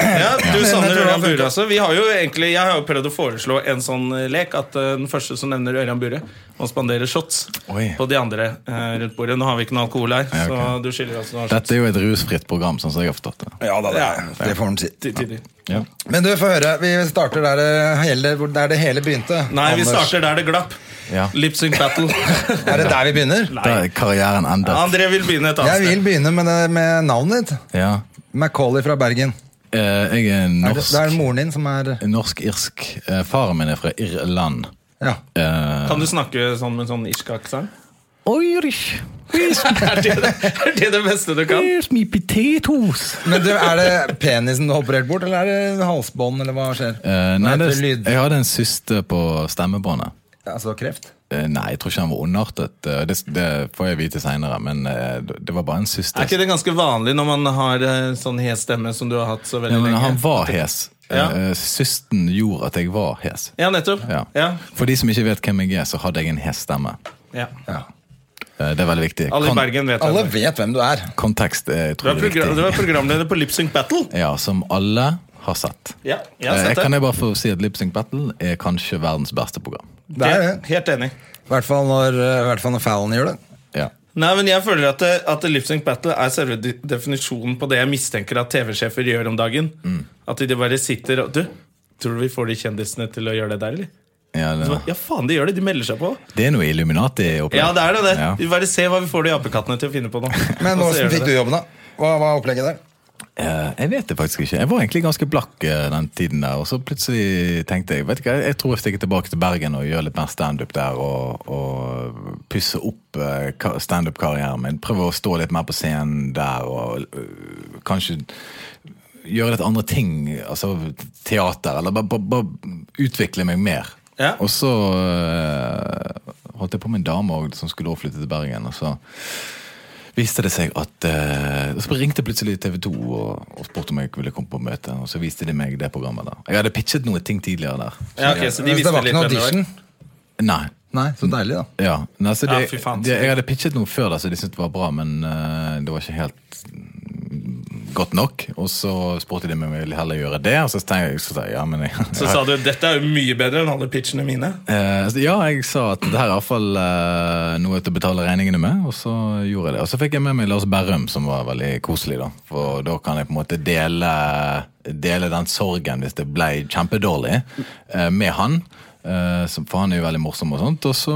Speaker 1: Ja, du
Speaker 2: jeg
Speaker 1: savner
Speaker 2: tror
Speaker 1: Ørjan
Speaker 2: det
Speaker 1: Bure også. Vi har jo egentlig, jeg har jo prøvd å foreslå en sånn eh, lek at eh, den første som nevner Ørjan Bure, må spandere shots
Speaker 3: Oi.
Speaker 1: på de andre eh, rundt bordet. Nå har vi ikke noe alkohol her,
Speaker 3: Ja,
Speaker 1: så
Speaker 3: ok.
Speaker 1: du skylder oss noen shots.
Speaker 3: Dette er jo et rusfritt program, sånn som jeg har forstått det.
Speaker 2: Ja da, det,
Speaker 1: Ja.
Speaker 2: det får han si.
Speaker 1: Ti- tidlig.
Speaker 3: Ja.
Speaker 2: Men du, få høre. Vi starter der det hele, hvor- der det hele begynte.
Speaker 1: Nei, vi
Speaker 2: Anders.
Speaker 1: starter der det glapp.
Speaker 3: Ja.
Speaker 1: Lip sync battle.
Speaker 2: Er det der vi begynner?
Speaker 3: Da er karrieren endet.
Speaker 1: André vil begynne et
Speaker 2: Jeg
Speaker 1: annet
Speaker 2: vil
Speaker 1: sted.
Speaker 2: begynne med, det, med navnet ditt.
Speaker 3: Ja.
Speaker 2: Macauley fra Bergen.
Speaker 3: Eh, jeg
Speaker 2: Er
Speaker 3: er
Speaker 2: det, det er
Speaker 3: norsk.
Speaker 2: moren din som er
Speaker 3: Norsk-irsk. Eh, faren min er fra Irland.
Speaker 2: Ja.
Speaker 3: Eh,
Speaker 1: Kan du snakke sånn med sånn irsk aksent?
Speaker 3: Irish. Here's,
Speaker 1: Er det det, er det det beste du kan?
Speaker 3: me potatoes.
Speaker 2: Men du, Er det penisen du har operert bort, eller er det halsbånd, eller hva skjer?
Speaker 3: Eh, nei,
Speaker 2: Hva
Speaker 3: det,
Speaker 2: heter lyd?
Speaker 3: jeg hadde en syste på stemmebåndet.
Speaker 2: Altså kreft?
Speaker 3: Eh, nei, jeg tror ikke han var ondartet. Eh, det, det får jeg vite seinere, men eh, det var bare en syste.
Speaker 1: Er ikke det ganske vanlig når man har eh, sånn hes stemme som du har hatt så
Speaker 3: Ja,
Speaker 1: veldig
Speaker 3: men
Speaker 1: lenge?
Speaker 3: han var hes.
Speaker 1: Ja.
Speaker 3: Eh, systen gjorde at jeg var hes.
Speaker 1: Ja, nettopp.
Speaker 3: Ja.
Speaker 1: Ja.
Speaker 3: For de som ikke vet hvem jeg er, så hadde jeg en hes stemme.
Speaker 1: Ja.
Speaker 2: Ja.
Speaker 3: Eh, det er veldig viktig.
Speaker 1: Alle i
Speaker 3: Kon-
Speaker 1: Bergen vet
Speaker 2: Alle
Speaker 1: det.
Speaker 2: vet hvem du er.
Speaker 3: kontekst er
Speaker 1: Du er,
Speaker 3: utrolig
Speaker 1: progra- du
Speaker 3: viktig.
Speaker 1: er programleder på Lip Sync Battle.
Speaker 3: Ja, som alle har sett.
Speaker 1: Ja, jeg
Speaker 3: Eh,
Speaker 1: har
Speaker 3: jeg kan
Speaker 1: sett det.
Speaker 3: jeg bare få si at Lip Sync Battle er kanskje verdens beste program.
Speaker 2: Det er det.
Speaker 1: Helt- Helt enig.
Speaker 2: I hvert fall når, eh, i hvert fall når Fallon gjør det.
Speaker 3: Ja.
Speaker 1: Nei, men jeg føler at, det- at Lip Sync Battle er selve de- definisjonen på det jeg mistenker at TV-sjefer gjør om dagen.
Speaker 2: Mm.
Speaker 1: At de bare sitter og Du, tror du vi får de kjendisene til å gjøre det der, eller?
Speaker 3: Ja, det,
Speaker 1: Ja, faen, de gjør det. De melder seg på.
Speaker 3: det er noe Illuminati oppi
Speaker 1: Ja, det er det. det.
Speaker 3: Ja.
Speaker 1: Vi bare ser hva vi får de apekattene til å finne på nå.
Speaker 2: Men
Speaker 1: Og så gjør
Speaker 2: åssen
Speaker 1: de
Speaker 2: fikk du
Speaker 1: det.
Speaker 2: jobben, da? Hva var opplegget der?
Speaker 3: Eh, Jeg vet det faktisk ikke. Jeg var egentlig ganske blakk eh, den tiden der. Og så plutselig tenkte jeg vet du hva, jeg tror jeg stikker tilbake til Bergen og gjør litt mer standup der. Og, og pusse opp eh, ka- standup-karrieren min. Prøve å stå litt mer på scenen der og øh, kanskje gjøre litt andre ting. Altså teater, eller bare, bare, bare utvikle meg mer.
Speaker 1: Ja.
Speaker 3: Og så øh, holdt jeg på med en dame også, som skulle også flytte til Bergen. og så viste det seg at eh, Så ringte plutselig TV 2 og, og spurte om jeg ville komme på møte. Og så viste de meg det programmet. der Jeg hadde pitchet noen ting tidligere der. Så
Speaker 1: Ja, ok,
Speaker 3: jeg-
Speaker 1: så de
Speaker 2: Hvis det
Speaker 1: visste
Speaker 2: var
Speaker 1: litt
Speaker 2: ikke noe
Speaker 1: hvem det var.
Speaker 2: audition?
Speaker 3: Nei.
Speaker 2: Nei, så deilig, da.
Speaker 3: Ja, nei, altså, så
Speaker 1: Ja,
Speaker 3: de,
Speaker 1: fy faen.
Speaker 3: de, Jeg hadde pitchet noe før der, så de syntes det var bra, men eh, det var ikke helt godt nok. Og så spurte de meg om jeg ville heller gjøre det. Og så tenkte jeg, så sa jeg ja, men jeg,
Speaker 1: Så sa du dette er jo mye bedre enn alle pitchene mine.
Speaker 3: Eh, så ja, jeg sa at det her er iallfall eh, noe til å betale regningene med, og så gjorde jeg det. Og så fikk jeg med meg Lars Berrum, som var veldig koselig, da. For da kan jeg på en måte dele, dele den sorgen, hvis det ble kjempedårlig, eh, med han. Eh, som- for han er jo veldig morsom og sånt. Og så,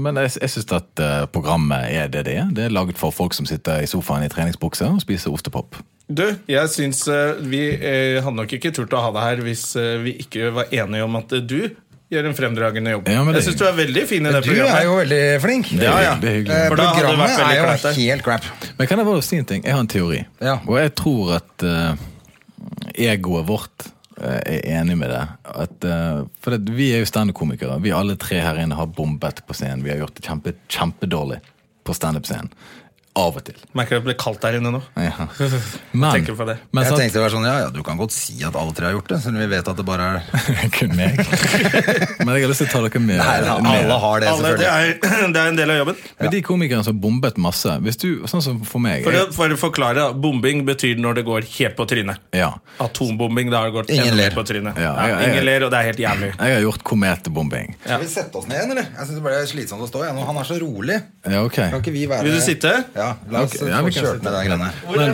Speaker 3: men jeg, jeg syns at eh, programmet er det det er. Det er laget for folk som sitter i sofaen i treningsbukse og spiser ostepop.
Speaker 1: Du, jeg syns eh, vi eh, hadde nok ikke turt å ha deg her hvis eh, vi ikke var enige om at eh, du gjør en fremdragende jobb.
Speaker 3: Ja, men det-
Speaker 1: jeg syns du er veldig fin i det
Speaker 2: Du er
Speaker 1: programmet.
Speaker 2: jo veldig flink.
Speaker 3: Det er,
Speaker 1: Ja, ja.
Speaker 3: det er hyggelig.
Speaker 2: Eh,
Speaker 1: For da hadde det vært
Speaker 2: Programmet
Speaker 1: veldig
Speaker 2: er jo
Speaker 1: kleint der.
Speaker 2: helt crap.
Speaker 3: Men kan jeg bare si en ting? Jeg har en teori.
Speaker 2: Ja.
Speaker 3: Og jeg tror at eh, egoet vårt eh, er enig med det. At, eh, for det, vi er jo standup-komikere. Vi alle tre her inne har bombet på scenen. Vi har gjort det kjempe, kjempedårlig på standup-scenen. Av og til.
Speaker 1: Merker at det blir kaldt der inne nå.
Speaker 3: Ja. Men,
Speaker 1: Tenker på det.
Speaker 3: men
Speaker 2: Jeg
Speaker 3: sant-
Speaker 2: tenkte det var sånn, ja, ja, Du kan godt si at alle tre har gjort det, siden vi vet at det bare er
Speaker 3: Kun meg. Men jeg har lyst til å ta dere med.
Speaker 2: Nei, da,
Speaker 3: med.
Speaker 2: Alle har det,
Speaker 1: Alle, det,
Speaker 2: selvfølgelig.
Speaker 1: er, det er en del av jobben.
Speaker 3: Men de komikerne som bombet masse hvis du, Sånn som for meg.
Speaker 1: For,
Speaker 3: jeg-
Speaker 1: å- for å forklare, da, bombing betyr når det går helt på trynet.
Speaker 3: ja.
Speaker 1: Atombombing, da har det gått
Speaker 2: Ingen
Speaker 1: enda
Speaker 2: ler.
Speaker 1: mer på trynet.
Speaker 3: Ja, ja, ja.
Speaker 1: Ingen ler, og det er helt jævlig.
Speaker 3: Jeg har gjort kometbombing.
Speaker 2: Skal vi sette oss ned igjen, eller? Jeg synes Det ble slitsomt å stå igjen. og Han er så rolig.
Speaker 3: Ja, ok.
Speaker 2: Kan ikke vi være
Speaker 1: Vil du sitte?
Speaker 2: Ja, la oss
Speaker 3: Ok, ja,
Speaker 2: få
Speaker 3: vi kan
Speaker 2: kjørt med de greiene.
Speaker 1: Hvordan,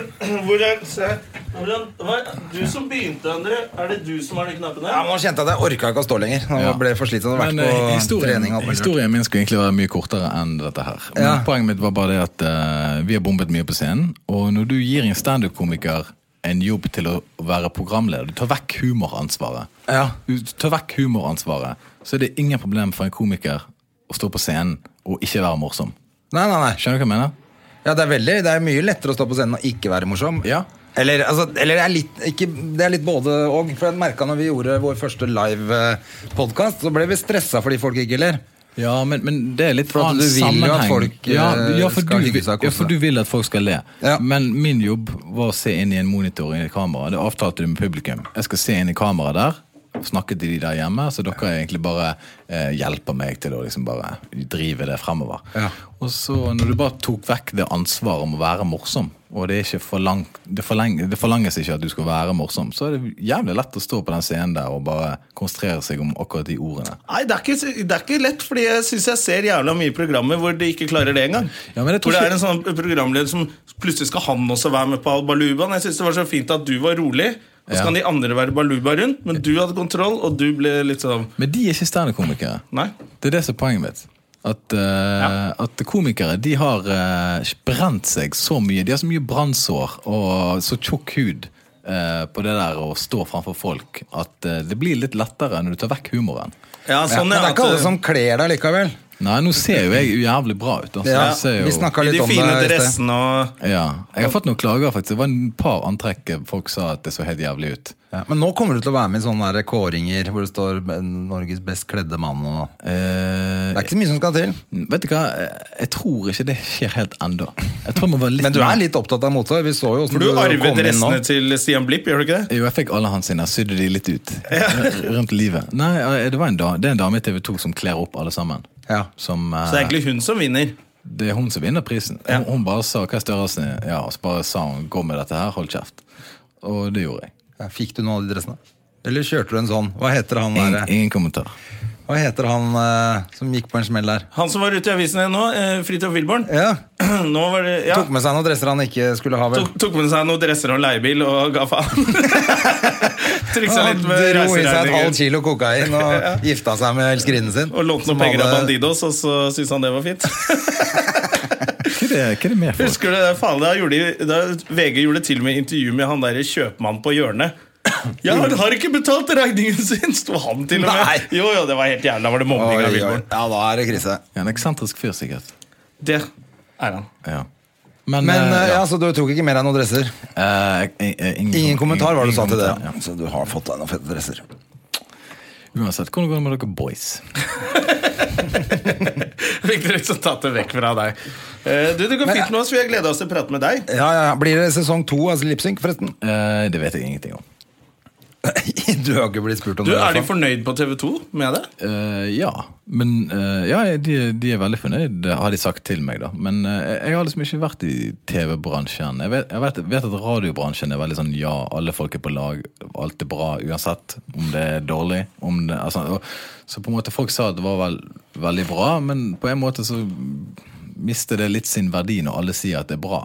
Speaker 1: hvordan, se, hvordan hva- Du som begynte, André. Er det du som har de knappene?
Speaker 2: Ja, men Nå kjente jeg at jeg orka ikke å stå lenger. Nå
Speaker 3: Ja.
Speaker 2: ble jeg for slitsom. Jeg har
Speaker 3: Men,
Speaker 2: vært
Speaker 3: eh,
Speaker 2: på
Speaker 3: historien,
Speaker 2: trening og alt mulig.
Speaker 3: historien min skulle egentlig være mye kortere enn dette her. Men
Speaker 2: Ja.
Speaker 3: Poenget mitt var bare det at eh, vi har bombet mye på scenen. Og når du gir en standup-komiker en jobb til å være programleder, du tar vekk humoransvaret,
Speaker 2: Ja.
Speaker 3: Du tar vekk humoransvaret så er det ingen problem for en komiker å stå på scenen og ikke være morsom.
Speaker 2: Nei, nei, nei.
Speaker 3: Skjønner du hva jeg mener?
Speaker 2: Ja, det er, veldig, det er mye lettere å stå på scenen og ikke være morsom.
Speaker 3: Ja.
Speaker 2: Eller, altså, eller det, er litt, ikke, det er litt både og. For jeg merka når vi gjorde vår første live-podkast, så ble vi stressa fordi folk ikke ler.
Speaker 3: Ja, men, men det er litt
Speaker 2: For at du
Speaker 3: annen
Speaker 2: vil jo at
Speaker 3: sammenheng.
Speaker 2: folk, eh,
Speaker 3: ja, ja, for
Speaker 2: skal
Speaker 3: du,
Speaker 2: hygge seg og kose
Speaker 3: Ja, for du vil at folk skal le.
Speaker 2: Ja.
Speaker 3: Men min jobb var å se inn i en monitor i et kamera. Det avtalte du med publikum. Jeg skal se inn i kameraet der. Snakke til de der hjemme, så dere egentlig bare eh, hjelper meg til å liksom bare drive det fremover.
Speaker 2: Ja.
Speaker 3: Og så når du bare tok vekk det ansvaret om å være morsom, og det, er ikke forlang, det, forleng, det forlanges ikke at du skal være morsom, så er det jævlig lett å stå på den scenen der og bare konsentrere seg om akkurat de ordene.
Speaker 1: Nei, det er, ikke, det er ikke lett, fordi jeg syns jeg ser jævla mye programmer hvor de ikke klarer det engang.
Speaker 3: Ja, men jeg
Speaker 1: hvor
Speaker 3: tror
Speaker 1: det
Speaker 3: ikke-
Speaker 1: er en sånn programleder som plutselig skal han også være med på Al Balubaen. Jeg syns det var så fint at du var rolig, og så
Speaker 3: Ja.
Speaker 1: kan de andre være Baluba rundt, men du hadde kontroll, og du ble litt sånn
Speaker 3: Men de er ikke standup-komikere.
Speaker 1: Nei.
Speaker 3: Det er det som er poenget mitt. At, eh, at komikere de har eh, brent seg så mye. De har så mye brannsår og så tjukk hud eh, på det der å stå framfor folk at eh, det blir litt lettere når du tar vekk humoren.
Speaker 1: Ja,
Speaker 2: Ja,
Speaker 1: sånn
Speaker 2: men det
Speaker 1: er
Speaker 2: er ikke alle
Speaker 1: at
Speaker 2: som kler deg likevel.
Speaker 3: Nei, nå ser jo jeg jævlig bra ut. Altså.
Speaker 2: Ja,
Speaker 3: Jeg ser jo,
Speaker 2: vi snakka
Speaker 1: eh, I
Speaker 2: litt
Speaker 1: de
Speaker 2: om det.
Speaker 1: fine
Speaker 2: i sted.
Speaker 1: dressene og
Speaker 3: ja. Jeg har fått noen klager, faktisk. Det var en par antrekk folk sa at det så helt jævlig ut.
Speaker 2: Ja, men nå kommer du til å være med i sånne der kåringer hvor det står eh, 'Norges best kledde mann' og
Speaker 3: Eh,
Speaker 2: Det er ikke så mye som skal til.
Speaker 3: vet du hva, Eh, jeg tror ikke det skjer helt ennå. Jeg tror man var litt
Speaker 2: Men du
Speaker 3: mer-
Speaker 2: er litt opptatt av mote. Vi så jo åssen
Speaker 1: For du arvet
Speaker 2: inn nå.
Speaker 1: dressene til Stian Blipp, gjør du ikke det?
Speaker 3: Jo, jeg fikk alle hans sine. Jeg Sydde de litt ut. Rundt livet. Nei, eh, det, var en da, det er en dame i TV 2 som kler opp alle sammen.
Speaker 2: Ja.
Speaker 3: Som, eh,
Speaker 1: Så det er egentlig hun som vinner.
Speaker 3: det er hun som vinner prisen.
Speaker 1: Ja.
Speaker 3: Hun, hun bare sa hva er størrelsen din? Ja, og så bare sa hun 'gå med dette her, hold kjeft'. Og det gjorde jeg.
Speaker 2: Ja, Fikk du noen av de dressene? Eller kjørte du en sånn? Hva heter han
Speaker 3: Ingen,
Speaker 2: der,
Speaker 3: ingen kommentar.
Speaker 2: Hva heter han eh, som gikk på en smell der?
Speaker 1: Han som var ute i avisene nå, eh, Fridtjof Wilborn,
Speaker 2: Ja,
Speaker 1: nå var det ja,
Speaker 2: Tok med seg noen dresser han ikke skulle ha, vel?
Speaker 1: tok, tok med seg noen dresser og leiebil og ga faen. Trykket seg
Speaker 2: Han
Speaker 1: litt med
Speaker 2: dro i seg et halvt
Speaker 1: reiseregninger.
Speaker 2: kilo kokain og gifta seg med elskerinnen sin.
Speaker 1: Og lånte
Speaker 2: som
Speaker 1: noen penger av
Speaker 2: hadde-
Speaker 1: Bandidos, og så syntes han det var fint.
Speaker 3: Hva er det, hva er det med folk?
Speaker 1: Husker du det? Faen, da, gjorde, de- da VG gjorde til og med intervju med han derre kjøpmannen på hjørnet. Ja, han har ikke betalt regningen sin, sto han til og med.
Speaker 2: Nei.
Speaker 1: Jo, jo, det var helt jævla var det
Speaker 2: Oi,
Speaker 1: mobbing av
Speaker 2: oi.
Speaker 1: Wilborn.
Speaker 2: Ja, da er det krise.
Speaker 3: Ja, en eksentrisk fyr, sikkert.
Speaker 1: Det er han.
Speaker 3: Ja. Men,
Speaker 2: Men
Speaker 3: eh,
Speaker 2: eh, ja, så du tok ikke med deg noen dresser?
Speaker 3: Eh, jeg- jeg- ingen,
Speaker 2: Ingen kommentar var det du sa
Speaker 3: ingen
Speaker 2: til det.
Speaker 3: kommentar,
Speaker 2: Så du har fått deg noen fete dresser.
Speaker 3: ja. Uansett, hvordan går det med dere boys?
Speaker 1: Fikk dere liksom tatt det vekk fra deg. Eh, Du, Det går fint med oss. Vi har gleda oss til å prate med deg.
Speaker 2: Ja, ja, Blir det sesong to av altså Lipsync, forresten?
Speaker 3: Eh, det vet jeg ingenting om.
Speaker 2: du har ikke blitt spurt om
Speaker 1: Du,
Speaker 2: det. i
Speaker 1: Er
Speaker 2: hvert
Speaker 1: de
Speaker 2: fall.
Speaker 1: fornøyd på TV 2 med det?
Speaker 3: Eh, ja, men eh, ja, de, de er veldig fornøyd, har de sagt til meg. da Men eh, jeg har liksom ikke vært i TV-bransjen. Jeg, vet, jeg vet, vet at radiobransjen er veldig sånn ja, alle folk er på lag, alt er bra uansett om det er dårlig. Om det, altså, og, så på en måte folk sa at det var vel, veldig bra, men på en måte så mister det litt sin verdi når alle sier at det er bra.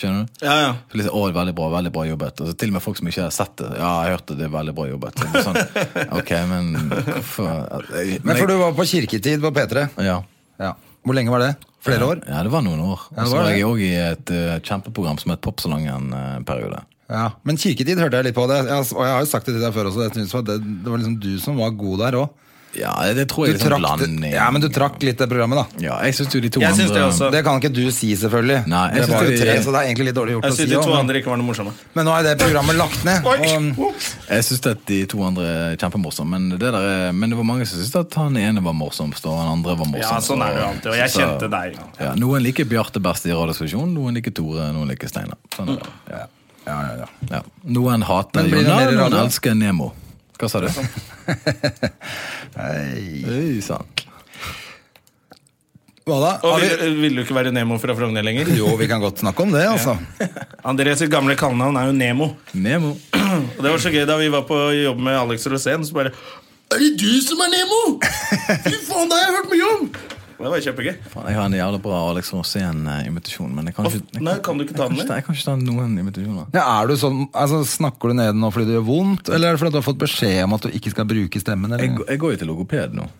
Speaker 3: Skjønner du?
Speaker 1: Ja, ja.
Speaker 3: Så liksom, å, veldig bra, veldig bra jobbet. Altså, til og med folk som ikke har sett det. Ja, jeg hørte det er veldig bra jobbet. Så det er Sånn, ok, men hvorfor
Speaker 2: Men for du var på kirketid på P3.
Speaker 3: ja.
Speaker 2: Ja. Hvor lenge var det? Flere år?
Speaker 3: Ja, det var noen år.
Speaker 2: Ja, det
Speaker 3: Og så
Speaker 2: var
Speaker 3: var
Speaker 2: det.
Speaker 3: jeg òg i et eh, kjempeprogram som het Popsalong en eh, periode.
Speaker 2: Ja. Men kirketid hørte jeg litt på. det jeg, Og jeg har jo sagt det til deg før også. Jeg synes det, var- det var liksom du som var god der òg.
Speaker 3: Ja, det, det
Speaker 2: Du,
Speaker 3: tror jeg er sånn
Speaker 2: trakk det-
Speaker 3: blanding.
Speaker 2: ja, men du trakk litt det programmet, da.
Speaker 3: Ja, jeg syns jo de to
Speaker 1: Jeg synes det
Speaker 3: andre
Speaker 1: også.
Speaker 2: Det kan ikke du si, selvfølgelig.
Speaker 3: Nei, jeg
Speaker 2: det
Speaker 3: synes
Speaker 2: var jo
Speaker 3: det-
Speaker 2: tre, så det er egentlig litt dårlig gjort å
Speaker 1: Jeg
Speaker 2: si.
Speaker 1: synes de to
Speaker 2: også, men,
Speaker 1: andre ikke var noe morsomme.
Speaker 2: men nå er det programmet lagt ned. Og,
Speaker 1: Oi!
Speaker 3: Jeg synes at de to andre er kjempemorsomme, men det, der er, men det var mange som syntes at han ene var morsomst, og han andre var morsomst.
Speaker 1: Ja, sånn er det jo
Speaker 3: og-
Speaker 1: alltid, og jeg
Speaker 3: så-
Speaker 1: kjente deg.
Speaker 3: Ja, noen liker Bjarte best i Radiostasjonen, noen liker Tore, noen liker Steinar. Sånn er det. Ja.
Speaker 2: ja, ja, ja.
Speaker 3: Ja. Noen hater
Speaker 2: Men blir det
Speaker 3: Jonar,
Speaker 2: mer
Speaker 3: noen
Speaker 2: radio?
Speaker 3: elsker Nemo. Hva sa du? Oi sann.
Speaker 2: Hva da?
Speaker 1: Og
Speaker 2: Har
Speaker 1: vil,
Speaker 2: vi,
Speaker 1: vil du ikke være Nemo fra Frogner lenger?
Speaker 2: jo, vi kan godt snakke om det, altså.
Speaker 1: André sitt gamle kallenavn er jo Nemo.
Speaker 3: Nemo.
Speaker 1: Og det var så gøy da vi var på jobb med Alex Rosén, så bare Er det du som er Nemo?! Fy faen, det har jeg hørt mye om! Det var kjempegøy.
Speaker 3: Faen, Jeg har en jævlig bra Alex Rosén-invitasjon, men jeg kan ikke, jeg
Speaker 1: Nei, kan du ikke ta den
Speaker 3: jeg kan
Speaker 1: med?
Speaker 3: Jeg kan ikke ta noen invitasjoner.
Speaker 2: Ja, er du sånn, altså, snakker du ned nå fordi det gjør vondt, eller er det fordi du har fått beskjed om at du ikke skal bruke stemmen?
Speaker 3: Jeg,
Speaker 2: Eller?
Speaker 3: går- jeg går jo til logoped nå.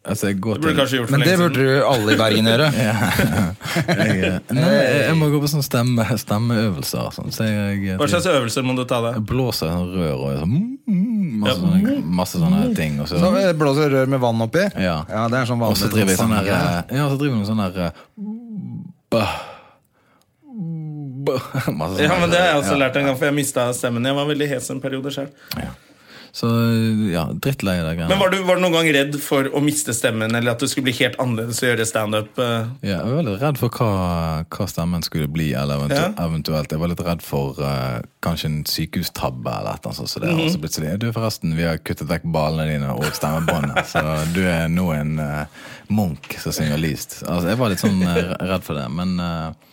Speaker 3: Altså, jeg går
Speaker 1: Det burde du
Speaker 3: til
Speaker 1: kanskje gjort for
Speaker 2: Men det
Speaker 1: lenge
Speaker 2: burde
Speaker 1: siden.
Speaker 2: du alle i Bergen gjøre.
Speaker 3: jeg, eh, Nei, jeg, jeg må gå på sånne stemme, stemmeøvelser. og Sånn. Så jeg, jeg,
Speaker 1: Hva slags øvelser må du ta deg?
Speaker 3: jeg blåser i sånn rør og sånn, mm, mm, masse, sånne, masse sånne ting. Og så,
Speaker 2: Så eh, blåser du rør med vann oppi.
Speaker 3: Ja.
Speaker 2: det er sånn vanlig.
Speaker 3: og så driver jeg sånn der
Speaker 2: ja.
Speaker 3: eh, Ja, så driver jeg med sånn der eh, bøh, bøh, masse sånn sånne
Speaker 1: Ja, men Det har jeg også
Speaker 3: ja.
Speaker 1: lært en gang, for jeg mista stemmen. Jeg var veldig hes en periode selv.
Speaker 3: Ja. Så ja, drittlei av de greiene.
Speaker 1: Men var du, var du noen gang redd for å miste stemmen, eller at du skulle bli helt annerledes og gjøre standup? eh?
Speaker 3: Ja, jeg var litt redd for hva, hva stemmen skulle bli, eller eventu
Speaker 1: Ja.
Speaker 3: eventuelt. Jeg var litt redd for eh, kanskje en sykehustabbe eller et eller annet sånt. Så det har også blitt sånn, du forresten, vi har kuttet vekk ballene dine og stemmebåndet, så du er nå en eh, munk som synger lyst. Altså, jeg var litt sånn eh, redd for det, men, eh,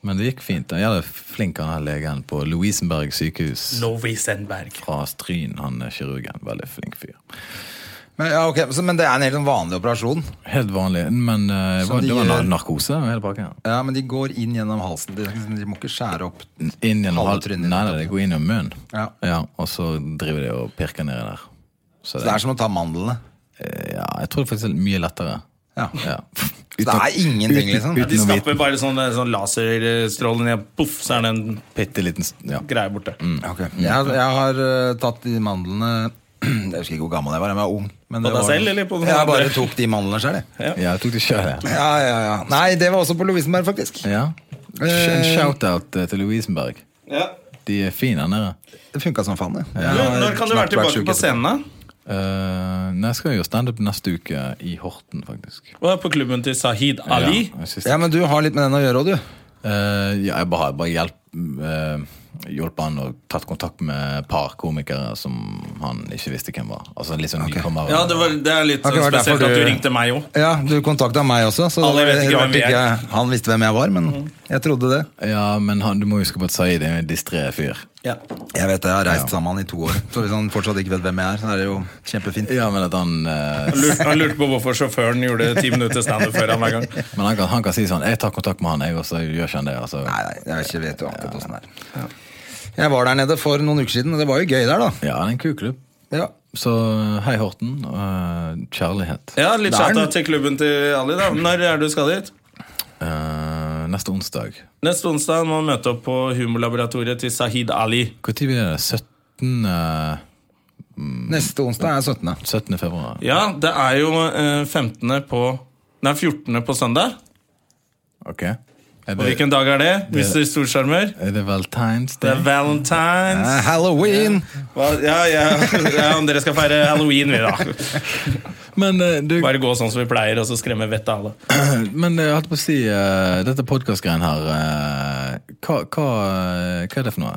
Speaker 3: men det gikk fint. Jeg er flink, han her legen på Lovisenberg sykehus
Speaker 1: Lovi Sandberg.
Speaker 3: fra Stryn, han er kirurgen, veldig flink fyr.
Speaker 2: Men, ja, ok, så, men det er en helt sånn vanlig operasjon.
Speaker 3: Helt vanlig, men eh, det var,
Speaker 2: de
Speaker 3: det var
Speaker 2: gjør-
Speaker 3: narkose og hele pakken.
Speaker 2: Ja, men de går inn gjennom halsen. De, liksom, de må ikke skjære opp.
Speaker 3: Inn gjennom
Speaker 2: Halve
Speaker 3: hal-
Speaker 2: trynet.
Speaker 3: Nei, nei, det går inn gjennom munnen.
Speaker 2: Ja.
Speaker 3: og så driver de og pirker nedi der. Så
Speaker 2: Så
Speaker 3: det,
Speaker 2: det er som å ta mandlene.
Speaker 3: eh, ja, jeg tror det faktisk er mye lettere.
Speaker 2: Ja.
Speaker 3: Ja.
Speaker 2: Så det er ingenting, liksom.
Speaker 1: Ja, de
Speaker 3: Uten å
Speaker 1: stapper bare sånn, sånn laserstråle ned, poff, så er det en
Speaker 3: Bitte liten s- ja.
Speaker 1: greie borte.
Speaker 2: Ok. Jeg, jeg har eh, tatt de mandlene Jeg husker ikke hvor gammel jeg var, jeg var ung. Men
Speaker 1: På
Speaker 2: det
Speaker 1: deg
Speaker 2: var-
Speaker 1: selv, eller på noen
Speaker 2: Jeg
Speaker 1: andre?
Speaker 2: bare tok de mandlene sjøl, jeg.
Speaker 3: ja, jeg tok det sjøl, jeg.
Speaker 2: Ja, ja, ja. Nei, det var også på Lovisenberg, faktisk.
Speaker 3: Ja. En shout-out eh, til Lovisenberg.
Speaker 1: Ja.
Speaker 3: De er fine der nede.
Speaker 2: Det funka som faen, det.
Speaker 1: Du,
Speaker 2: Jeg har
Speaker 1: når kan du
Speaker 2: snart
Speaker 1: være tilbake
Speaker 2: sjuk
Speaker 1: på
Speaker 2: etterpå.
Speaker 1: scenen? da?
Speaker 3: Eh, nei, jeg skal jo standup neste uke i Horten, faktisk.
Speaker 1: Og på klubben til Sahid Ali.
Speaker 3: Ja, jeg synes-
Speaker 2: Ja, men du har litt med den å gjøre òg, du.
Speaker 3: Eh, ja, jeg bare, bare hjelp, eh, hjulpet han og tatt kontakt med et par komikere som han ikke visste hvem var. Altså litt sånn nykommere.
Speaker 1: Ja, det, var, det er litt
Speaker 2: Ok, det
Speaker 1: sånn
Speaker 2: var
Speaker 1: spesielt
Speaker 2: derfor
Speaker 1: at du
Speaker 2: du-
Speaker 1: ringte meg òg.
Speaker 2: Ja, du kontakta meg også, så
Speaker 1: Alle vet ikke hvem vi er.
Speaker 2: jeg- han visste hvem jeg var, men
Speaker 1: Mm.
Speaker 2: jeg trodde det.
Speaker 3: Ja, men han, du må huske på at Saeed er jo en distré fyr.
Speaker 2: Jeg vet det, jeg har reist sammen med han i to år, så hvis han fortsatt ikke vet hvem jeg er, så er det jo kjempefint.
Speaker 3: Ja, men at han eh,
Speaker 1: Han lurte, han lurte på hvorfor sjåføren gjorde ti minutter standup før han hver gang.
Speaker 3: Men han kan, han kan si sånn 'Jeg tar kontakt med han, jeg', og så gjør ikke han det. Altså.
Speaker 2: Nei, nei, jeg ikke vet jo akkurat åssen det er. Jeg var der nede for noen uker siden, og det var jo gøy der, da.
Speaker 3: Ja, det er en kul klubb.
Speaker 2: Ja.
Speaker 3: Så hei, Horten. eh, kjærlighet.
Speaker 1: Ja, Litt
Speaker 2: Det er
Speaker 1: chata
Speaker 2: den.
Speaker 1: til klubben til Ali, da. Når er det du skal dit?
Speaker 3: Eh, neste onsdag.
Speaker 1: Neste onsdag må han møte opp på humorlaboratoriet til Sahid Ali.
Speaker 3: Når blir det? 17. eh,
Speaker 2: Neste onsdag er 17.
Speaker 3: 17. februar?
Speaker 1: Ja, det er jo eh, 15. på Nei, 14. på søndag.
Speaker 3: Ok. Er
Speaker 1: Og
Speaker 3: det,
Speaker 1: hvilken dag er det? Mr. Storsjarmør?
Speaker 3: er det Valentine's
Speaker 1: Det
Speaker 3: Day?
Speaker 1: er Valentine's.
Speaker 2: Eh, Halloween!
Speaker 1: Hva? Ja, ja, ja, om dere skal feire halloween, vi, da.
Speaker 3: Men eh, du,
Speaker 1: Bare gå sånn som vi pleier, og så skremme vettet av alle.
Speaker 3: Men jeg holdt på å si eh, Dette podcastgreien her eh, hva, hva, hva er det for noe?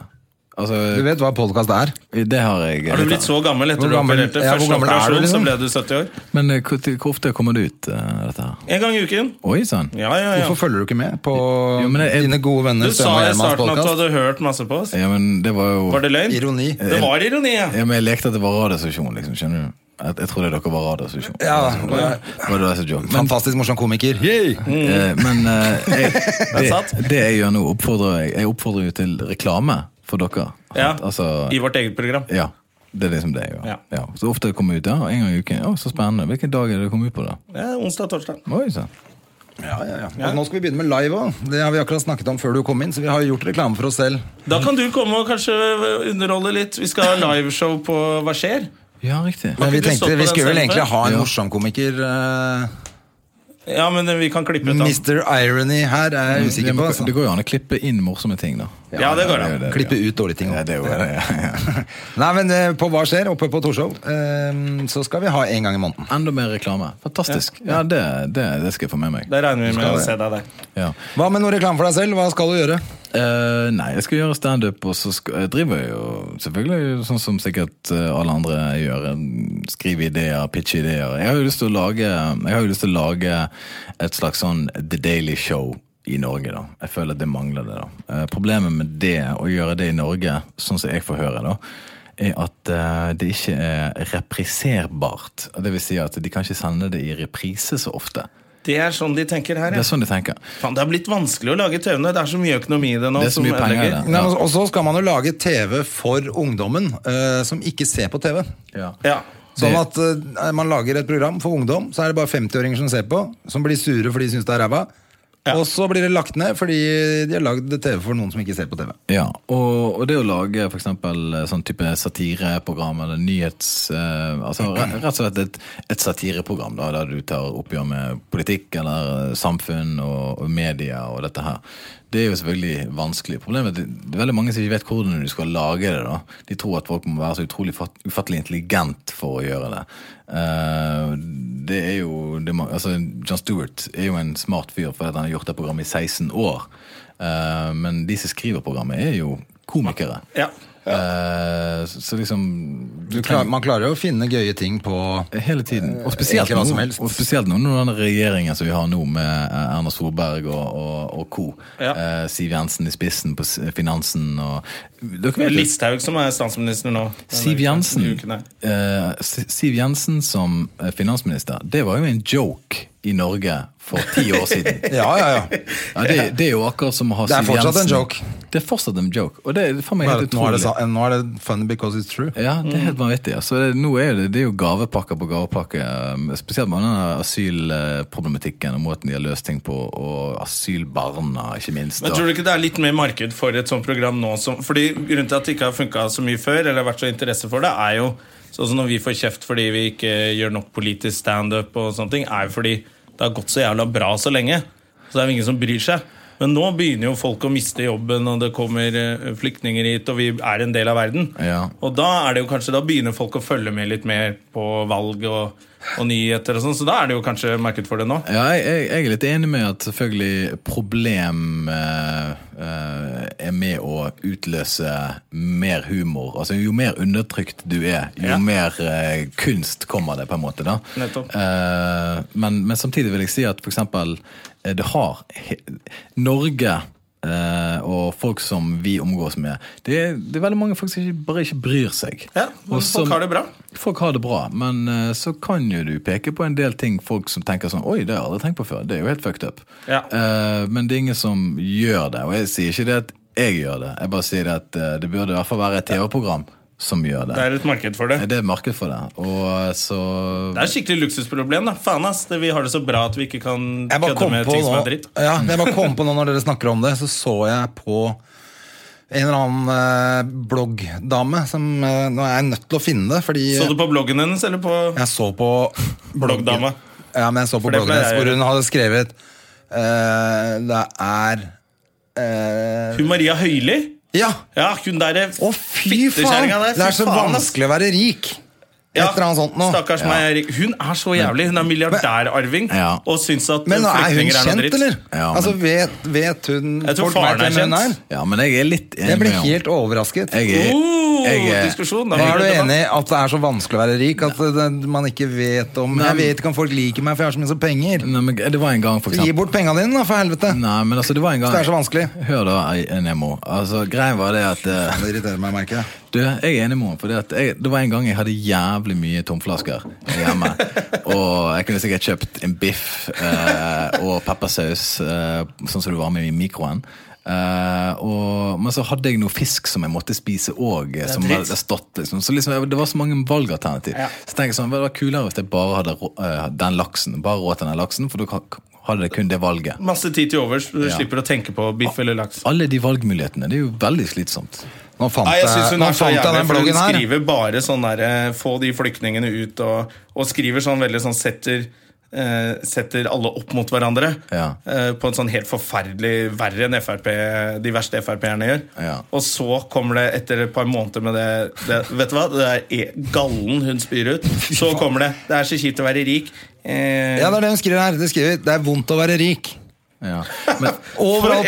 Speaker 2: Du
Speaker 3: Altså,
Speaker 2: vet hva podkast er?
Speaker 3: det har jeg
Speaker 1: Har du blitt så gammel etter
Speaker 2: Hvor
Speaker 1: du
Speaker 2: gammel-
Speaker 1: opererte?
Speaker 2: ja, hvor
Speaker 1: Første
Speaker 2: gammel er du,
Speaker 1: operasjon, så
Speaker 2: liksom?
Speaker 1: ble du 70 år.
Speaker 3: Men eh, hvor, til- hvor ofte kommer det ut, eh, dette her?
Speaker 1: En gang i uken.
Speaker 3: Oi sann!
Speaker 1: Ja, ja, ja.
Speaker 2: Hvorfor følger du ikke med på
Speaker 3: Jo, men jeg-
Speaker 2: dine gode venner
Speaker 1: Du sa
Speaker 2: Støme og
Speaker 1: i
Speaker 2: Gjermans
Speaker 1: starten at du
Speaker 2: podcast?
Speaker 1: hadde hørt masse på oss.
Speaker 3: Ja, men det var jo
Speaker 1: Var det løgn?
Speaker 2: Ironi.
Speaker 1: Det var ironi, ja.
Speaker 3: Ja, men Jeg lekte at det var radiostasjon, liksom. skjønner du? Jeg, jeg trodde dere var radiostasjon.
Speaker 2: Ja,
Speaker 3: Det var det som jobb. Men,
Speaker 2: Fantastisk morsom komiker.
Speaker 3: eh, men eh, jeg,
Speaker 1: satt.
Speaker 3: det, det jeg gjør nå, oppfordrer jeg Jeg oppfordrer jo til reklame for dere.
Speaker 1: ja.
Speaker 3: Sant? Altså,
Speaker 1: I vårt eget program.
Speaker 3: ja. Det er liksom det jeg gjør.
Speaker 1: Ja.
Speaker 3: Ja. Så ofte det kommer ut ja, en gang i uken. Å, så spennende. Hvilken dag er det det kommer ut på, da?
Speaker 1: Ja, onsdag og torsdag.
Speaker 3: Oi, sann.
Speaker 2: Ja, ja, ja. Og nå skal vi begynne med live òg. Det har vi akkurat snakket om før du kom inn, så vi har jo gjort reklame for oss selv.
Speaker 1: Da kan du komme og kanskje underholde litt. Vi skal ha liveshow på Hva skjer?
Speaker 3: Ja, riktig.
Speaker 2: Men
Speaker 1: ikke
Speaker 2: vi
Speaker 1: du stått på
Speaker 2: tenkte vi
Speaker 1: den
Speaker 2: skulle vel
Speaker 1: scenen
Speaker 2: egentlig
Speaker 1: før?
Speaker 2: ha en
Speaker 3: Ja.
Speaker 2: morsom komiker. eh,
Speaker 1: Ja, men vi kan klippe ut han.
Speaker 2: Mr. Irony her er jeg
Speaker 3: Ja,
Speaker 2: usikker
Speaker 3: men
Speaker 2: på.
Speaker 3: Mm, Det
Speaker 2: Altså.
Speaker 3: går jo an å klippe inn morsomme ting, da.
Speaker 1: Ja, det går
Speaker 3: er
Speaker 1: an.
Speaker 3: jo det,
Speaker 2: Klippe
Speaker 3: ja.
Speaker 2: ut dårlige ting.
Speaker 3: Ja, det er jo det. Ja, ja.
Speaker 2: Nei, men eh, på Hva skjer? Oppe på Torshov. eh, Så skal vi ha en gang i måneden.
Speaker 3: Enda mer reklame. Fantastisk. Ja, det, det, det skal jeg få med meg.
Speaker 1: Da regner vi med å
Speaker 2: Skal det.
Speaker 1: se deg der.
Speaker 3: Ja.
Speaker 2: Hva med noe reklame for deg selv? Hva skal du gjøre?
Speaker 3: Eh, nei, jeg skal gjøre standup, og så skal, jeg driver jeg jo selvfølgelig sånn som sikkert eh, alle andre gjør. eh, Skrive ideer, pitche ideer. Jeg har jo lyst til å lage Jeg har jo lyst til å lage et slags sånn The Daily Show i Norge, da. Jeg føler at det mangler det, da. Eh, problemet med det, å gjøre det i Norge, sånn som jeg får høre, da, er at eh, det ikke er repriserbart. Det vil si at de kan ikke sende det i reprise så ofte.
Speaker 1: Det er sånn de tenker her,
Speaker 3: Det
Speaker 1: ja.
Speaker 3: er sånn de tenker.
Speaker 1: Faen, det har blitt vanskelig å lage TV nå. Det er så mye økonomi i det nå.
Speaker 3: Det er så
Speaker 1: som
Speaker 3: mye penger i
Speaker 1: ødelegger.
Speaker 3: det.
Speaker 2: Nei, og- og så skal man jo lage TV for ungdommen eh, som ikke ser på TV.
Speaker 3: Ja.
Speaker 1: Ja.
Speaker 2: Sånn at eh, man lager et program for ungdom, så er det bare 50-åringer som ser på, som blir sure fordi de syns det er ræva.
Speaker 1: Ja.
Speaker 2: Og så blir det lagt ned fordi de har lagd TV for noen som ikke ser på TV.
Speaker 3: Ja, og, og det å lage for eksempel eh, sånn type satireprogram eller nyhets... Eh, altså re- rett og slett et, et satireprogram da, der du tar oppgjør med politikk eller eh, samfunn og, og media og dette her. Det er jo selvfølgelig vanskelig. Problemet er at det er veldig mange som ikke vet hvordan du skal lage det. da. De tror at folk må være så utrolig fat, ufattelig intelligent for å gjøre det. Eh, det er jo... Det, må- altså, John Stewart er jo en smart fyr fordi han har gjort det programmet i 16 år. Eh, men de som skriver programmet, er jo komikere.
Speaker 1: Ja.
Speaker 3: Eh, så, så liksom
Speaker 2: Du klar, man klarer jo å finne gøye ting på
Speaker 3: Hele tiden. Og spesielt,
Speaker 2: Eh, Egentlig hva som
Speaker 3: nå,
Speaker 2: helst.
Speaker 3: og spesielt nå når den regjeringen som vi har nå, med eh, Erna Solberg og, og, og co.
Speaker 1: Ja.
Speaker 3: Eh, Siv Jensen i spissen på s- finansen og Dere vet jo-
Speaker 1: Listhaug som er statsminister nå.
Speaker 3: Siv
Speaker 1: Denne
Speaker 3: Jensen,
Speaker 1: uken her.
Speaker 3: eh, S- Siv Jensen som eh, finansminister, det var jo en joke i Norge for ti år siden.
Speaker 2: Ja, ja, ja.
Speaker 3: Ja, det, det er jo akkurat som å ha
Speaker 2: Det er
Speaker 3: Siv
Speaker 2: fortsatt en
Speaker 3: Jensen.
Speaker 2: joke.
Speaker 3: Det er fortsatt en joke. Og det er faen meg
Speaker 2: Bare
Speaker 3: helt
Speaker 2: at nå, er
Speaker 3: utrolig.
Speaker 2: det, sa- nå er det fun because it's true.
Speaker 3: Ja, det er helt vanvittig. Altså, det, nå er det, det er jo gavepakke på gavepakke. eh, Spesielt med denne asylproblematikken og måten de har løst ting på, og asylbarna, ikke minst.
Speaker 1: Men
Speaker 3: da.
Speaker 1: tror du ikke det er litt mer marked for et sånt program nå? Som, fordi Grunnen til at det ikke har funka så mye før, eller vært så interesse for det, er jo sånn som når vi får kjeft fordi vi ikke gjør nok politisk standup og sånne ting, er jo fordi det har gått så jævla bra så lenge. Så det er jo ingen som bryr seg. Men nå begynner jo folk å miste jobben, og det kommer eh, flyktninger hit, og vi er en del av verden.
Speaker 3: Ja.
Speaker 1: Og da er det jo kanskje, da begynner folk å følge med litt mer på valg og, og nyheter og sånn, så da er det jo kanskje marked for det nå.
Speaker 3: Ja, jeg, jeg, jeg er litt enig med at selvfølgelig problem eh, eh, er med å utløse mer humor. Altså Jo mer undertrykt du er, jo
Speaker 1: Ja.
Speaker 3: mer eh, kunst kommer det, på en måte. da.
Speaker 1: Nettopp.
Speaker 3: Eh, men, men samtidig vil jeg si at f.eks. Uh, det har he Norge eh, og folk som vi omgås med Det er, det er veldig mange folk som ikke, bare ikke bryr seg.
Speaker 1: Ja,
Speaker 3: Og som-
Speaker 1: folk har det bra.
Speaker 3: Folk har det bra, men eh, så kan jo du peke på en del ting folk som tenker sånn Oi, det har jeg aldri tenkt på før. Det er jo helt fucked up.
Speaker 1: Ja.
Speaker 3: Eh, men det er ingen som gjør det. Og jeg sier ikke det at jeg gjør det. Jeg bare sier det at eh, det burde i hvert fall være et TV-program som gjør det.
Speaker 1: Det er et marked for det.
Speaker 3: Det er marked for det. Og eh, så
Speaker 1: Det er et skikkelig luksusproblem. da Faen ass, det, Vi har det så bra at vi ikke kan
Speaker 2: Jeg bare
Speaker 1: kødde
Speaker 2: kom
Speaker 1: med
Speaker 2: på
Speaker 1: ting
Speaker 2: nå
Speaker 1: som er dritt.
Speaker 2: ja, jeg bare kom på nå når dere snakker om det, så så jeg på en eller annen eh, bloggdame som eh, Nå er jeg nødt til å finne det, fordi
Speaker 1: Så du på bloggen hennes, eller på
Speaker 2: jeg så på bloggen-
Speaker 1: Bloggdama.
Speaker 2: Ja, men jeg så på
Speaker 1: For det
Speaker 2: bloggen
Speaker 1: pleier jeg
Speaker 2: hennes
Speaker 1: å
Speaker 2: hvor
Speaker 1: gjøre.
Speaker 2: hun hadde skrevet eh, Det er eh,
Speaker 1: Hun Maria Høili?
Speaker 2: Ja!
Speaker 1: Ja, hun derre
Speaker 2: Å, fy faen!
Speaker 1: der.
Speaker 2: Det er så
Speaker 1: faen, ass.
Speaker 2: vanskelig å være rik! Et eller annet sånt nå.
Speaker 1: Stakkars meg. Erik. Hun er så jævlig. Hun er milliardærarving
Speaker 3: Ja.
Speaker 1: og syns at
Speaker 2: Men nå er hun
Speaker 1: flyktninger er noe
Speaker 2: kjent,
Speaker 1: dritt.
Speaker 2: eller?
Speaker 3: Ja, men-
Speaker 2: Altså, vet, vet hun
Speaker 1: Jeg tror
Speaker 2: folk
Speaker 1: faren
Speaker 2: vet
Speaker 1: er
Speaker 2: hvem hun
Speaker 1: kjent.
Speaker 3: Ja, men jeg er litt enig
Speaker 2: Jeg ble
Speaker 3: med ham.
Speaker 2: helt overrasket.
Speaker 3: Jeg er,
Speaker 1: Oh,
Speaker 3: jeg er,
Speaker 1: diskusjon. Da
Speaker 2: Men
Speaker 1: blir
Speaker 2: er du
Speaker 1: det debatt.
Speaker 2: enig i at det er så vanskelig å være rik? At det, det- man ikke vet om Jeg vet ikke om folk liker meg, for jeg har så mye så penger.
Speaker 3: Nei, men det var en gang, for
Speaker 2: Gi
Speaker 3: eksempel.
Speaker 2: bort pengene dine, da, for helvete!
Speaker 3: Nei, men altså, det var en gang
Speaker 2: Det er så vanskelig.
Speaker 3: Hør da, Nemo. Altså, greia var det at eh,
Speaker 2: Det irriterer meg, merker jeg.
Speaker 3: Du, jeg er enig med henne. For det, at jeg, det var en gang jeg hadde jævlig mye tomflasker hjemme. og jeg kunne sikkert kjøpt en biff eh, og peppersaus, eh, sånn som det var med i mikroen. Eh, og, men så hadde jeg noe fisk som jeg måtte spise òg. Som
Speaker 1: dritt.
Speaker 3: hadde stått liksom. Så liksom, jeg- det var så mange valgalternativ. Så tenker jeg sånn, Det var kulere hvis jeg bare hadde rå, eh, den laksen. Bare råd til den laksen, for da ka- hadde jeg kun det valget.
Speaker 1: Masse tid til overs, så du
Speaker 3: Ja.
Speaker 1: slipper å tenke på biff eller laks.
Speaker 3: Alle de valgmulighetene. Det er jo veldig slitsomt.
Speaker 2: Nå fant
Speaker 1: Nei, jeg synes
Speaker 2: jeg,
Speaker 1: hun
Speaker 2: nå
Speaker 1: er så
Speaker 2: fant jeg
Speaker 1: jævlig,
Speaker 2: den
Speaker 1: for hun
Speaker 2: bloggen her.
Speaker 1: skriver bare sånn der eh, Få de flyktningene ut, og, og skriver sånn veldig sånn setter eh, setter alle opp mot hverandre
Speaker 3: Ja.
Speaker 1: eh, på en sånn helt forferdelig verre enn FRP, de verste Frp-erne gjør.
Speaker 3: Ja.
Speaker 1: Og så kommer det, etter et par måneder med det, det Vet du hva? Det er e- gallen hun spyr ut. Så kommer det. Det er så kjipt å være rik. Eh,
Speaker 2: Ja, det er det hun skriver her. Det, skriver, det er vondt å være rik.
Speaker 3: Ja. Men,
Speaker 2: Overalt,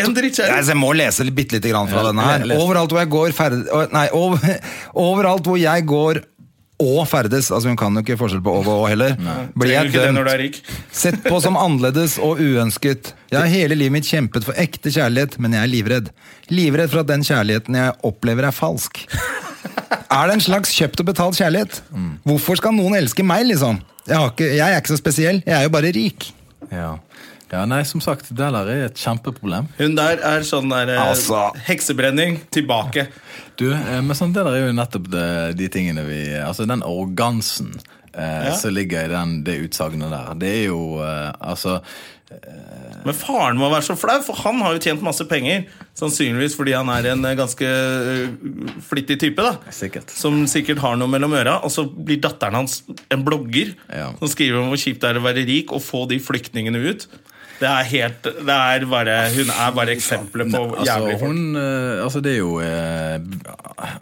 Speaker 1: For en drittkjerring.
Speaker 2: Nei, så jeg må lese litt- bitte lite grann fra
Speaker 3: Ja,
Speaker 2: denne her.
Speaker 3: les.
Speaker 2: Overalt hvor jeg går ferd... å, Nei, over, overalt hvor jeg går og ferdes Altså hun kan jo ikke forskjell på over og heller. Blir
Speaker 1: trenger du
Speaker 2: jeg
Speaker 1: ikke det når du
Speaker 2: dømt.
Speaker 1: er rik?
Speaker 2: Sett på som annerledes og uønsket. Jeg har hele livet mitt kjempet for ekte kjærlighet, men jeg er livredd. Livredd for at den kjærligheten jeg opplever, er falsk. Er det en slags kjøpt og betalt kjærlighet? Hvorfor skal noen elske meg, liksom? Jeg, har ikke, jeg er ikke så spesiell, jeg er jo bare rik.
Speaker 3: ja. ja, nei, som sagt, det der er et kjempeproblem.
Speaker 1: Hun der er sånn der eh,
Speaker 2: Altså.
Speaker 1: Heksebrenning tilbake.
Speaker 3: Du, eh, men sånn, det der er jo nettopp de, de tingene vi Altså den arrogansen eh,
Speaker 1: Ja.
Speaker 3: som ligger i den, det utsagnet der. Det er jo eh, altså
Speaker 1: Men faren må være så flau, for han har jo tjent masse penger. Sannsynligvis fordi han er en eh, ganske eh, flittig type, da.
Speaker 3: Sikkert.
Speaker 1: Som sikkert har noe mellom øra. Og så blir datteren hans en blogger
Speaker 3: Ja.
Speaker 1: som skriver om hvor kjipt det er å være rik og få de flyktningene ut. Det er helt, det er bare, Hun er bare eksempelet på
Speaker 3: Altså,
Speaker 1: jævlig folk.
Speaker 3: hun eh, Altså, det er jo eh,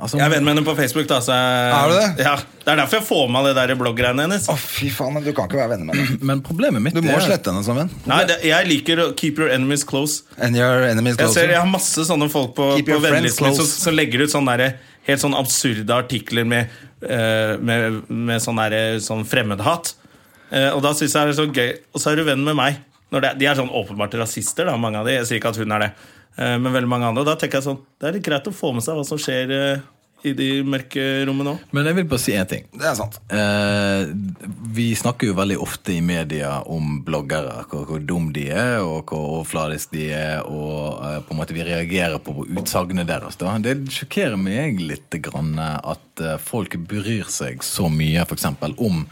Speaker 3: altså,
Speaker 1: Jeg er venn med henne på Facebook. da så jeg,
Speaker 2: Er du det?
Speaker 1: Ja, Det er derfor jeg får med det der blogggreiene hennes.
Speaker 2: Å, fy faen, du kan ikke være venner med henne.
Speaker 3: Men problemet
Speaker 2: Du
Speaker 3: mitt
Speaker 2: må
Speaker 3: er
Speaker 2: slette henne som venn.
Speaker 1: Nei, det, Jeg liker å Keep your enemies close.
Speaker 2: And your enemies
Speaker 1: Jeg ser, jeg
Speaker 2: closer.
Speaker 1: har masse sånne folk på,
Speaker 2: Keep
Speaker 1: på
Speaker 2: your friends
Speaker 1: vennelisten min som,
Speaker 2: close.
Speaker 1: som legger ut sånne der, helt sånn absurde artikler med, eh, med, med sånn, der, sånn fremmedhat. Eh, og da synes jeg det er så gøy. Og så er du venn med meg. Når det, de er sånn åpenbart rasister, da, mange av de. Jeg sier ikke at hun er det. Eh, men veldig mange andre. Og da tenker jeg sånn, det er litt greit å få med seg hva som skjer eh, i de mørke rommene òg.
Speaker 3: Men jeg vil bare si én ting.
Speaker 2: Det er sant.
Speaker 3: Eh, vi snakker jo veldig ofte i media om bloggere, hvor, hvor dum de er, og hvor overfladisk de er, og eh, på en måte vi reagerer på utsagnene deres. Da. Det sjokkerer meg litt grann, eh, at eh, folk bryr seg så mye for eksempel, om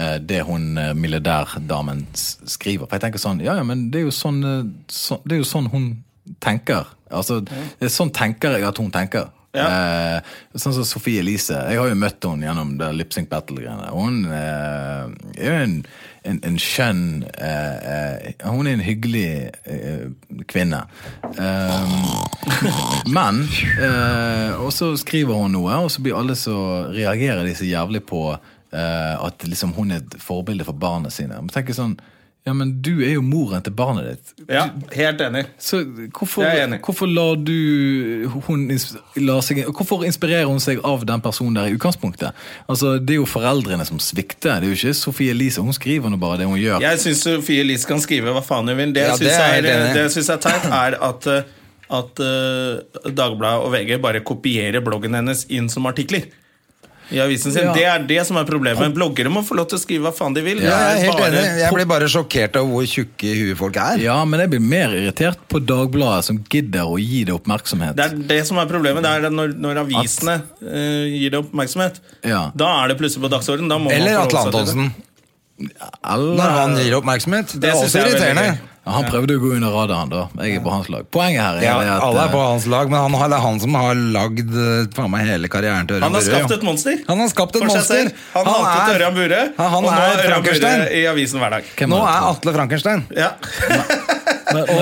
Speaker 3: eh, det hun eh, milliardærdamen s- skriver. For jeg tenker sånn, ja, ja, men det er jo sånn, eh, så, det er jo sånn hun tenker. Altså, det er sånn tenker jeg at hun tenker. Eh, sånn som Sofie Elise. Jeg har jo møtt henne gjennom det Lip Sync Battle-greiene. Hun eh, er jo en, en, en skjønn eh, eh, Hun er en hyggelig eh, kvinne. Eh, men eh, Og så skriver hun noe, og så blir alle så reagerer de så jævlig på eh, at liksom hun er et forbilde for barna sine. Men tenker sånn Ja, men du er jo moren til barnet ditt.
Speaker 1: Ja, helt enig.
Speaker 3: Så hvorfor,
Speaker 1: Jeg er enig.
Speaker 3: hvorfor lar du hun ins- lar seg, Hvorfor inspirerer hun seg av den personen der i utgangspunktet? Altså, Det er jo foreldrene som svikter. Det er jo ikke Sofie Elise. Hun skriver nå bare det hun gjør.
Speaker 1: Jeg syns Sofie Elise kan skrive hva faen hun vil. Det,
Speaker 2: Ja,
Speaker 1: jeg
Speaker 2: det
Speaker 1: synes
Speaker 2: er jeg
Speaker 1: er,
Speaker 2: helt enig i.
Speaker 1: det jeg syns er teit, er at, eh, at eh, Dagbladet og VG bare kopierer bloggen hennes inn som artikler. I avisen sin.
Speaker 3: Ja.
Speaker 1: Det er det som er problemet. Bloggere må få lov til å skrive hva faen de vil.
Speaker 2: Ja, jeg er
Speaker 1: Det er
Speaker 2: helt
Speaker 1: bare-
Speaker 2: enig. Jeg blir bare sjokkert av hvor tjukke i huet folk er.
Speaker 3: Ja, men jeg blir mer irritert på Dagbladet, som gidder å gi det oppmerksomhet.
Speaker 1: Det er det som er problemet. Det er at når, når avisene eh, gir det oppmerksomhet,
Speaker 3: Ja.
Speaker 1: da er det plutselig på dagsordenen. Da må man forholde
Speaker 2: Eller Atle
Speaker 1: seg til det.
Speaker 2: Antonsen.
Speaker 3: Eller-
Speaker 2: Når han gir oppmerksomhet. Det
Speaker 1: Det
Speaker 2: er
Speaker 1: synes
Speaker 2: også
Speaker 1: jeg er veldig
Speaker 2: irriterende.
Speaker 1: gøy.
Speaker 3: Ja, han prøvde å gå under radaren, da. Jeg er på hans lag. Poenget her er
Speaker 2: Ja,
Speaker 3: det at
Speaker 2: alle er på
Speaker 3: eh,
Speaker 2: hans lag, men han, har- det er han som har lagd eh, faen meg hele karrieren til Ørjan
Speaker 1: Han har
Speaker 2: Burøe,
Speaker 1: skapt
Speaker 2: jo.
Speaker 1: et monster.
Speaker 2: Han har skapt et
Speaker 1: For seg
Speaker 2: monster.
Speaker 1: selv. Han,
Speaker 2: Han
Speaker 1: hatet
Speaker 2: er-
Speaker 1: Ørjan Bure,
Speaker 2: Ja, han
Speaker 1: og nå
Speaker 2: er
Speaker 1: er Ørjan Bure
Speaker 2: Frankenstein.
Speaker 1: i avisen hver dag.
Speaker 3: hvem
Speaker 2: Nå
Speaker 3: var det?
Speaker 2: er Atle Frankenstein.
Speaker 1: Ja.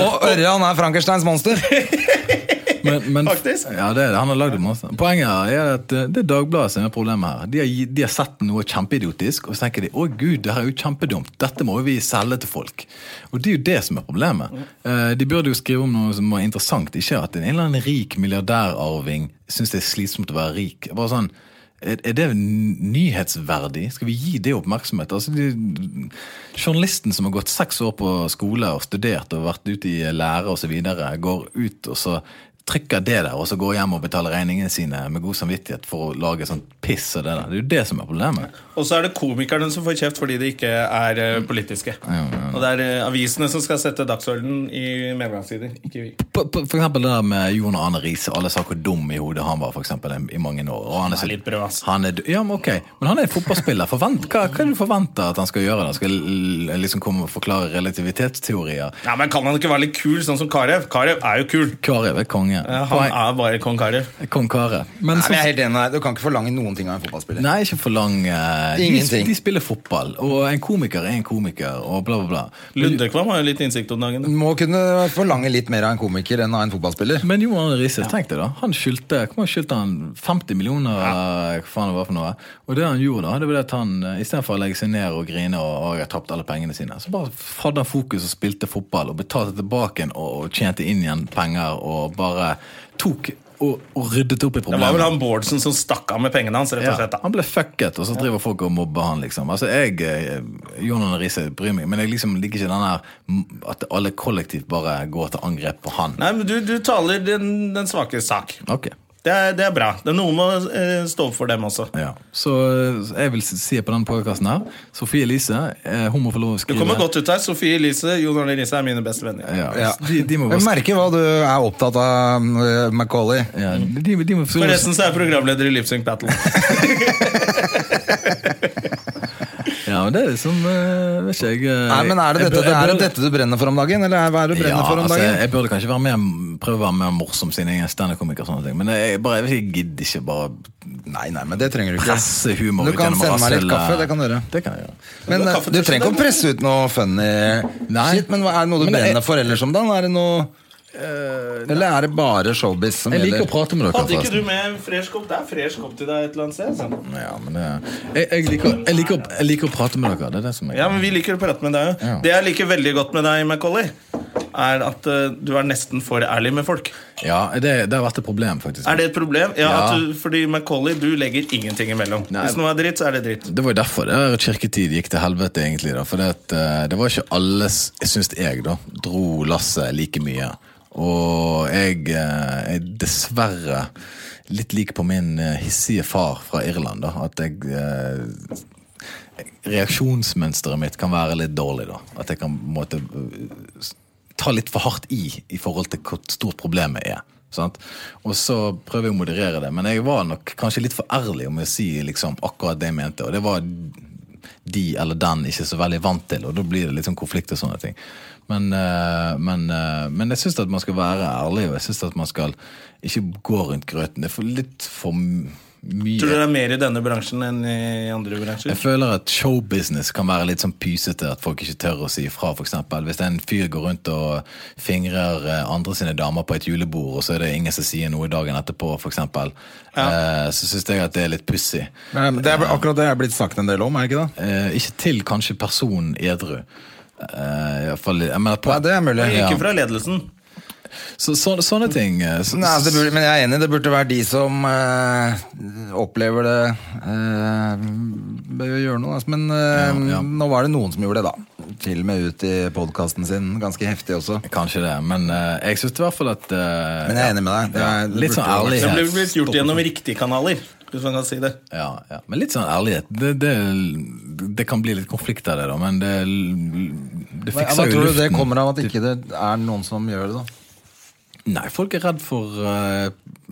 Speaker 2: Og Ørjan er Frankensteins monster.
Speaker 3: Men, men,
Speaker 1: Faktisk.
Speaker 3: Ja, det, er det. han har lagd det masse. Poenget her er at eh, det er Dagbladet som er problemet her. De har, gi- de har sett noe kjempeidiotisk, og så tenker de å gud, det her er jo kjempedumt. Dette må jo vi selge til folk. Og det er jo det som er problemet. Eh, De burde jo skrive om noe som var interessant, ikke at en eller annen rik milliardærarving syns det er slitsomt å være rik. Bare sånn, er er det n- nyhetsverdig? Skal vi gi det oppmerksomhet? Altså, de, journalisten som har gått seks år på skole og studert og vært ute i lære osv., går ut og så trykker det der, og så går hjem og betaler regningene sine med god samvittighet for å lage sånn piss og det der. Det er jo det som er problemet.
Speaker 1: Og så er det komikerne som får kjeft fordi de ikke er eh, politiske. Og det er eh, avisene som skal sette dagsordenen i medgangstider, ikke vi.
Speaker 3: På, på, for eksempel det der med Jon Arne Riise. Alle sa hvor dum i hodet han var for eksempel, i, i mange år. Og han
Speaker 1: er litt brød, ass.
Speaker 3: Han er, d- ja, men, ok. men han er fotballspiller. Forvent, hva, hva er det du forventer at han skal gjøre? da? Skal l- l- liksom komme og forklare relativitetsteorier?
Speaker 1: Ja, men Kan han ikke være litt kul, sånn som Karev? Karev er jo kul.
Speaker 3: Karev er konge.
Speaker 1: Ja, han er bare kong Karev.
Speaker 3: Kong Kare. Men
Speaker 2: Nei,
Speaker 3: så-
Speaker 2: men jeg er helt enig med deg. Du kan ikke forlange noen ting av en fotballspiller.
Speaker 3: Nei, ikke for lang. eh, De,
Speaker 2: Ingenting.
Speaker 3: de spiller fotball, og en komiker er en komiker, og bla, bla, bla. Men-
Speaker 1: Lundekvam har jo litt innsikt om dagen.
Speaker 2: Du må kunne forlange litt mer av en komiker enn av en fotballspiller.
Speaker 3: Men Jon Arne Riise, tenk deg da. Han skyldte, hvor mye skyldte han 50 millioner, eh, hva faen det var for noe. Og det han gjorde da, det var det at han eh, i stedet for å legge seg ned og grine og, og jeg har tapt alle pengene sine, så bare hadde han fokus og spilte fotball og betalte tilbake igjen og, og tjente inn igjen penger og bare tok og, og ryddet opp i
Speaker 1: Det var vel
Speaker 3: problemet.
Speaker 1: han Bårdsen som stakk av med pengene hans. rett og slett da.
Speaker 3: han ble fucket, og så driver folk og mobber han, liksom. Altså, jeg, eh, Jon Arne Riise bryr meg, men jeg liksom liker ikke den her mm, at alle kollektivt bare går til angrep på han.
Speaker 1: Nei, men Du, du taler den, den svake sak.
Speaker 3: Ok.
Speaker 1: Det er, det er bra. Det er Noen må eh, stå opp for dem også.
Speaker 3: Ja. Så eh, jeg vil s- si på denne podkasten her Sofie Elise, eh, hun må få lov å
Speaker 1: Du
Speaker 3: skrive.
Speaker 1: kommer godt ut her. Sofie Elise Jon Arne Riise er mine beste venner.
Speaker 3: Ja,
Speaker 2: Ja.
Speaker 3: De, de må bare
Speaker 2: Jeg
Speaker 3: sk-
Speaker 2: merker hva du er opptatt av, eh, Macaulay.
Speaker 3: ja, de, de må få lov å
Speaker 1: Forresten så er sånn- jeg programleder i Lipsync Battle.
Speaker 3: s- ja, men det er liksom eh, Vet ikke jeg eh,
Speaker 2: Nei, men Er det
Speaker 3: jeg
Speaker 2: dette,
Speaker 3: bør- jeg
Speaker 2: er det
Speaker 3: bør-
Speaker 2: dette du brenner for om dagen? Eller er- hva er det du brenner
Speaker 3: ja,
Speaker 2: for om
Speaker 3: altså,
Speaker 2: dagen?
Speaker 3: jeg, jeg burde kanskje være mer, prøve å være mer morsom siden jeg er standup-komiker. og sånne ting, Men jeg, bare, jeg, vet ikke, jeg gidder ikke bare
Speaker 2: Nei, nei, men det trenger du ikke.
Speaker 3: presse humor
Speaker 2: Du
Speaker 3: ut
Speaker 2: kan
Speaker 3: gjennom
Speaker 2: sende meg litt
Speaker 3: rasshøl,
Speaker 2: kaffe,
Speaker 3: eh,
Speaker 2: det kan du gjøre.
Speaker 3: Det kan jeg gjøre.
Speaker 2: Men
Speaker 1: Du har
Speaker 2: eh,
Speaker 1: kaffe
Speaker 2: du
Speaker 1: til
Speaker 2: trenger ikke å
Speaker 1: slutt, da.
Speaker 2: presse ut noe funny
Speaker 3: Nei.
Speaker 2: shit, men hva- er det noe du
Speaker 3: Men det er-
Speaker 2: brenner for ellers om dagen? Er det noe Eller er det bare showbiz som
Speaker 3: Jeg liker å
Speaker 2: gjelder?
Speaker 3: prate med dere.
Speaker 1: Hadde ikke
Speaker 3: forresten.
Speaker 1: du med fresh kopp? Det er fresh kopp til deg et eller annet sted. sånn.
Speaker 3: Ja, men det, jeg, jeg, liker, jeg, liker, å- jeg liker å prate med dere. Det er det som er
Speaker 1: Ja, men Vi liker å prate med deg. jo.
Speaker 3: Ja.
Speaker 1: Det jeg liker veldig godt med deg, Macauley, er at eh, du er nesten for ærlig med folk.
Speaker 3: ja, det, det har vært et problem, faktisk.
Speaker 1: Er det et problem? Ja,
Speaker 3: Ja.
Speaker 1: At du, Fordi Macauley, du legger ingenting imellom.
Speaker 3: Nei.
Speaker 1: Hvis noe er dritt, så er det dritt.
Speaker 3: Det var jo derfor det her kirketid gikk til helvete, egentlig. da, For det, at, eh, det var ikke alle, s- jeg syns jeg, da, dro lasset like mye. Og jeg eh, er dessverre litt lik på min eh, hissige far fra Irland, da. At jeg eh, Reaksjonsmønsteret mitt kan være litt dårlig, da. At jeg kan på en måte eh, s- ta litt for hardt i i forhold til hvor stort problemet er. Sant? Og så prøver jeg å moderere det, men jeg var nok kanskje litt for ærlig om å si liksom, akkurat det jeg mente. Og det var de eller den ikke så veldig vant til, og da blir det litt sånn konflikt og sånne ting. Men, eh, men, eh, men jeg syns at man skal være ærlig, og jeg syns at man skal ikke gå rundt grøten. Det er for litt for m- mye
Speaker 1: Tror du det er mer i denne bransjen enn i andre bransjer?
Speaker 3: jeg føler at showbusiness kan være litt sånn pysete, at folk ikke tør å si ifra, f.eks. Hvis en fyr går rundt og fingrer eh, andre sine damer på et julebord, og så er det ingen som sier noe dagen etterpå, f.eks., eksempel eh, så syns jeg at det er litt pussig.
Speaker 2: Nei, men Det er akkurat det jeg er blitt snakket en del om, er det ikke det?
Speaker 3: Eh, ikke til kanskje personen edru. Eh, i hvert fall, jeg mener, på,
Speaker 2: Nei, det er mulig.
Speaker 1: Ikke
Speaker 3: Ja.
Speaker 1: fra ledelsen.
Speaker 3: Så, så, sånne ting eh, så,
Speaker 2: Nei, altså, det burde, men jeg er enig, det burde være de som eh, opplever det eh, bør gjøre noe. Altså, men eh,
Speaker 3: Ja, ja.
Speaker 2: nå var det noen som gjorde det, da. Til og med ut i podkasten sin. Ganske heftig også.
Speaker 3: Kanskje det, men eh, jeg syns i hvert fall at eh,
Speaker 2: Men jeg er enig med deg. Det er, det
Speaker 3: Litt
Speaker 2: burde
Speaker 3: sånn
Speaker 2: jo vært-
Speaker 3: ærlig.
Speaker 1: Det ble
Speaker 3: Yes.
Speaker 1: blitt gjort gjennom riktige kanaler. Hvis man kan si det
Speaker 3: Ja, ja. Men litt sånn ærlighet. Det, det, det kan bli litt konflikt av det, da, men det, det
Speaker 2: Hva,
Speaker 3: fikser
Speaker 2: hva
Speaker 3: jo
Speaker 2: tror du
Speaker 3: luften.
Speaker 2: det kommer av at ikke det er noen som gjør det, da?
Speaker 3: Nei, folk er redd for eh,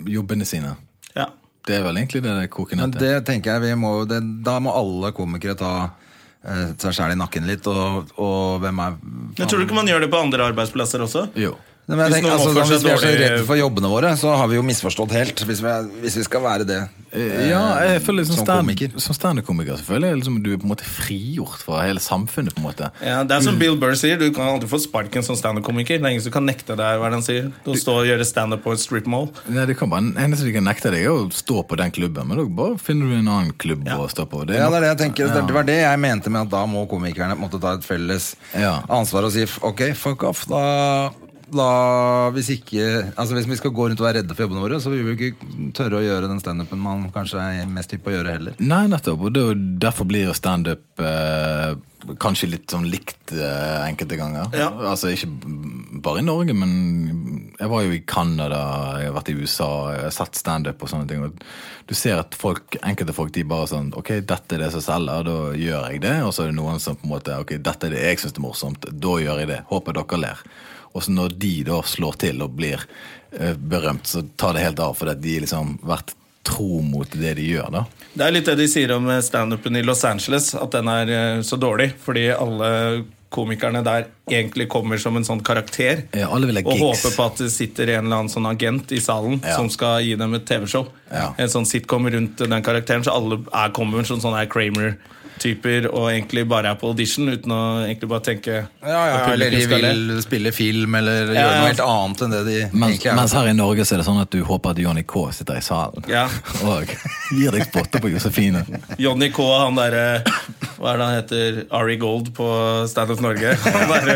Speaker 3: jobbene sine.
Speaker 1: ja.
Speaker 3: Det er vel egentlig det det koker
Speaker 2: Men
Speaker 3: ned til.
Speaker 2: det tenker jeg vi må det, Da må alle komikere ta eh, seg sjæl i nakken litt, og, og hvem er
Speaker 1: Men Tror du ikke man gjør det på andre arbeidsplasser også?
Speaker 3: Jo.
Speaker 2: Nei, men jeg
Speaker 1: Hvis
Speaker 2: tenker,
Speaker 1: noen
Speaker 2: altså,
Speaker 1: oppfører
Speaker 2: da, hvis
Speaker 1: seg
Speaker 2: vi er så
Speaker 1: dårlig-
Speaker 2: redde for jobbene våre, så har vi jo misforstått helt. Hvis vi, hvis vi skal være det. eh,
Speaker 3: Ja, jeg føler liksom
Speaker 2: som komiker.
Speaker 3: stand, som standup-komiker så føler jeg liksom du er på en måte frigjort fra hele samfunnet. på en måte
Speaker 1: Ja, det er som Bill Burr sier, du kan aldri få sparken som standup-komiker. Det er ingen som kan nekte deg hva den sier. Du står og gjør standup på en strip mall.
Speaker 3: Nei, det kan bare, eneste du kan nekte deg, er å stå på den klubben. Men da bare finner du en annen klubb
Speaker 1: Ja.
Speaker 3: å stå på. Det er
Speaker 2: Ja,
Speaker 3: nok-
Speaker 2: det er det jeg tenker. Det- Det var det jeg mente med at da må komikerne måtte ta et felles
Speaker 3: Ja.
Speaker 2: ansvar og si f- ok, fuck off. Da, da hvis ikke Altså hvis vi skal gå rundt og være redde for jobbene våre, så vil vi jo ikke tørre å gjøre den standupen man kanskje er mest hypp på å gjøre heller.
Speaker 3: Nei, nettopp. Og det, er jo- derfor blir jo standup eh, kanskje litt sånn likt eh, enkelte ganger.
Speaker 1: Ja.
Speaker 3: Altså ikke b- bare i Norge, men jeg var jo i Canada, jeg har vært i USA, jeg har sett standup og sånne ting. Og du ser at folk, enkelte folk de bare sånn Ok, dette er det som selger, da gjør jeg det. Og så er det noen som på en måte Ok, dette er det jeg syns er morsomt, da gjør jeg det. Håper dere ler. Og så når de da slår til og blir eh, berømt, så tar det helt av, fordi at de liksom vært tro mot det de gjør, da.
Speaker 1: Det er litt det de sier om eh, standupen i Los Angeles, at den er eh, så dårlig fordi alle komikerne der egentlig kommer som en sånn karakter.
Speaker 3: Ja, alle vil ha
Speaker 1: og
Speaker 3: gigs.
Speaker 1: håper på at det sitter en eller annen sånn agent i salen
Speaker 3: Ja.
Speaker 1: som skal gi dem et TV-show.
Speaker 3: Ja.
Speaker 1: En sånn sitcom rundt den karakteren, så alle er, kommer som sånne her Kramer-typer og egentlig bare er på audition uten å egentlig bare tenke at publikum
Speaker 2: Eller de
Speaker 1: skal le.
Speaker 2: vil spille film eller gjøre
Speaker 1: Ja, ja.
Speaker 2: noe helt annet enn det de
Speaker 3: Mens,
Speaker 2: egentlig er.
Speaker 3: mens her i Norge så er det sånn at du håper at Johnny K sitter i salen
Speaker 1: Ja.
Speaker 3: og gir deg spotter på Josefine.
Speaker 1: Johnny K, han derre Hva er det han heter? Ari Gold på Stand Up Norge. Han derre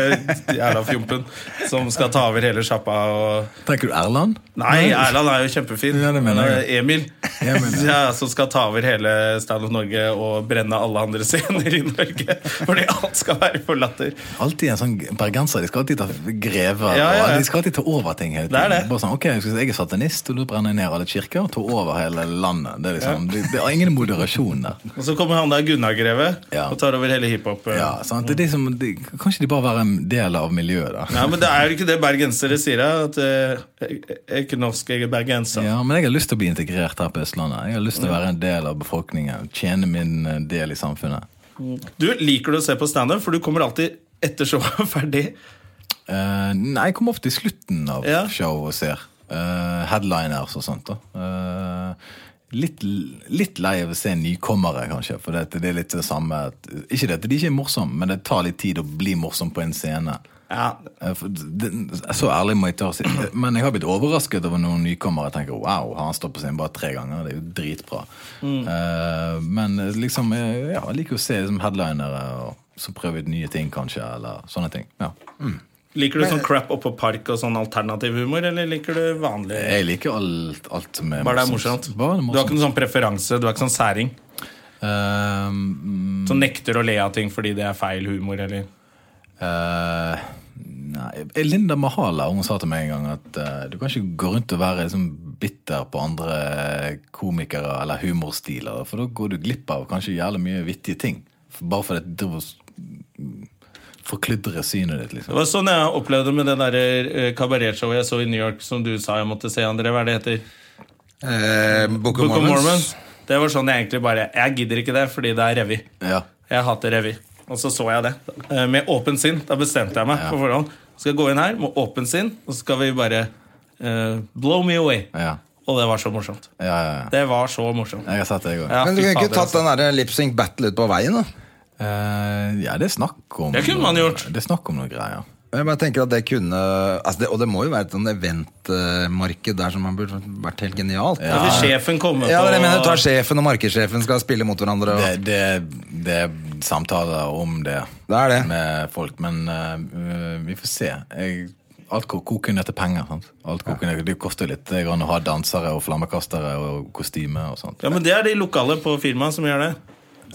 Speaker 1: jævla fjompen som skal ta over hele sjappa og
Speaker 3: Tenker du Erland?
Speaker 1: Nei, Erland er jo kjempefin.
Speaker 3: Ja, det mener
Speaker 1: Men,
Speaker 3: jeg.
Speaker 1: eh, Emil.
Speaker 3: Emil,
Speaker 1: Ja, som skal ta over hele Stand Up Norge og brenne alle andre scener i Norge. Fordi alt skal være for latter.
Speaker 3: Alltid en sånn bergenser. De skal alltid ta grever.
Speaker 1: Ja, ja, ja.
Speaker 3: Og de skal alltid ta over ting hele
Speaker 1: Det er
Speaker 3: tiden.
Speaker 1: det.
Speaker 3: Bare sånn, ok, jeg, skal si, jeg er satanist, og da brenner jeg ned alle kirker og tar over hele landet. Det er liksom, det, det er ingen moderasjon der.
Speaker 1: Og så kommer han der Gunnar Greve
Speaker 3: Ja.
Speaker 1: og tar over hele hiphop. eh.
Speaker 3: Ja, sant? Det er de som, de, kan ikke de bare være en del av miljøet, da?
Speaker 1: Ja, men det er jo ikke det bergensere sier. eh, At eh, jeg jeg er ikke norsk, jeg er bergenser.
Speaker 3: Ja, men jeg har lyst til å bli integrert her på Østlandet. Jeg har lyst til å være en del av befolkningen. Tjene min eh, del i samfunnet.
Speaker 1: Du Liker du å se på standup? For du kommer alltid etter showet er ferdig.
Speaker 3: Eh, nei, jeg kommer ofte i slutten av
Speaker 1: Ja.
Speaker 3: show og ser. eh, headliners og sånt. da Eh, litt, litt lei av å se nykommere, kanskje. For det, det er litt det samme at, Ikke det at de ikke er morsomme, men det tar litt tid å bli morsom på en scene.
Speaker 1: Ja,
Speaker 3: Eh, for det- Så ærlig må jeg ta og si Men jeg har blitt overrasket over noen nykommere. Jeg tenker, wow, har han stått på scenen bare tre ganger? Det er jo dritbra. Eh, men liksom, eh, ja, jeg liker å se liksom, headlinere og så prøve ut nye ting, kanskje. Eller sånne ting. ja
Speaker 1: Liker du sånn crap oppå park og sånn alternativ humor, eller liker du vanlig?
Speaker 3: Jeg liker alt, alt som er
Speaker 1: Bare det er morsomt.
Speaker 3: Bare det er
Speaker 1: Du har ikke
Speaker 3: morsomt.
Speaker 1: noen sånn preferanse, du er ikke sånn særing
Speaker 3: Ehm,
Speaker 1: som nekter å le av ting fordi det er feil humor, eller
Speaker 3: eh, nei, Linda Mahala hun sa til meg en gang at eh, du kan ikke gå rundt og være liksom, bitter på andre komikere eller humorstiler, for da går du glipp av kanskje jævlig mye vittige ting. For- Bare fordi du driver og s- mm, forkludrer synet ditt,
Speaker 1: Det
Speaker 3: liksom.
Speaker 1: var sånn jeg opplevde med det der eh, kabaretshowet jeg så i New York, som du sa jeg måtte se, André. Hva er det heter?
Speaker 2: Eh, Book of
Speaker 1: Book of
Speaker 2: Mormons.
Speaker 1: Mormons. Det var sånn jeg egentlig bare Jeg gidder ikke det, fordi det er revy.
Speaker 3: Ja.
Speaker 1: Jeg hater revy. Og så så jeg det. Eh, Med åpent sinn. Da bestemte jeg meg
Speaker 3: Ja.
Speaker 1: på forhånd. Skal jeg gå inn her med åpent sinn, og så skal vi bare eh, blow me away.
Speaker 3: Ja.
Speaker 1: Og det var så morsomt.
Speaker 3: Ja, ja, ja.
Speaker 1: Det var så morsomt.
Speaker 3: Jeg har sett det, jeg òg.
Speaker 1: Ja,
Speaker 2: Men du
Speaker 1: fy
Speaker 2: kunne ikke
Speaker 1: fader,
Speaker 2: tatt
Speaker 1: altså.
Speaker 2: den derre lip-sync battle ut på veien, da?
Speaker 3: Eh, ja, det er snakk om
Speaker 1: Det kunne man gjort.
Speaker 3: Det er snakk om noen greier.
Speaker 2: Jeg bare tenker at det kunne altså det, Og det må jo være et sånn eventmarked der som har burde vært helt genialt.
Speaker 1: Da vil sjefen komme
Speaker 2: Ja,
Speaker 1: på
Speaker 2: det er det jeg mener, du tar sjefen og markedssjefen skal spille mot hverandre. Og,
Speaker 3: Det, det, det er samtaler om det,
Speaker 2: Det er det.
Speaker 3: med folk, men eh, vi får se. Jeg, alt ko- koker ned til penger. Sant? Alt koker ned, det koster litt det grann å ha dansere og flammekastere og kostyme og sånt.
Speaker 1: Ja, men det er de lokale på firmaet som gjør det.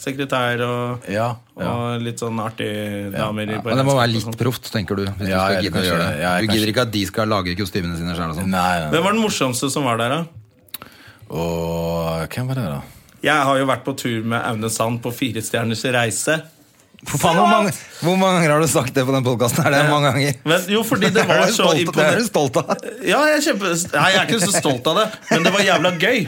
Speaker 1: Sekretær og,
Speaker 3: Ja, ja.
Speaker 1: og litt sånn artige damer. i
Speaker 2: men det
Speaker 1: beredskap
Speaker 2: må
Speaker 1: og
Speaker 2: være litt
Speaker 1: sånt.
Speaker 2: proft, tenker du. Hvis
Speaker 3: Ja,
Speaker 2: du
Speaker 3: jeg
Speaker 2: skal gidde å
Speaker 3: kanskje-
Speaker 2: gjøre det.
Speaker 3: ja, jeg
Speaker 2: du gidder
Speaker 3: kanskje-
Speaker 2: ikke at de skal lage kostymene sine sjøl og sånn.
Speaker 3: Nei, nei.
Speaker 1: Hvem var den morsomste som var der, da?
Speaker 3: Og hvem var det, da?
Speaker 1: Jeg har jo vært på tur med Aune Sand på Fire stjerners reise.
Speaker 2: For faen, hvor mange, hvor mange ganger har du sagt det på den podkasten her? Det er mange ganger.
Speaker 1: Men, jo, fordi det var
Speaker 2: er du
Speaker 1: så
Speaker 2: stolt- det er du
Speaker 1: imponerende.
Speaker 2: stolt av.
Speaker 1: Ja, jeg er, kjempe... Nei, jeg er ikke så stolt av det, men det var jævla gøy.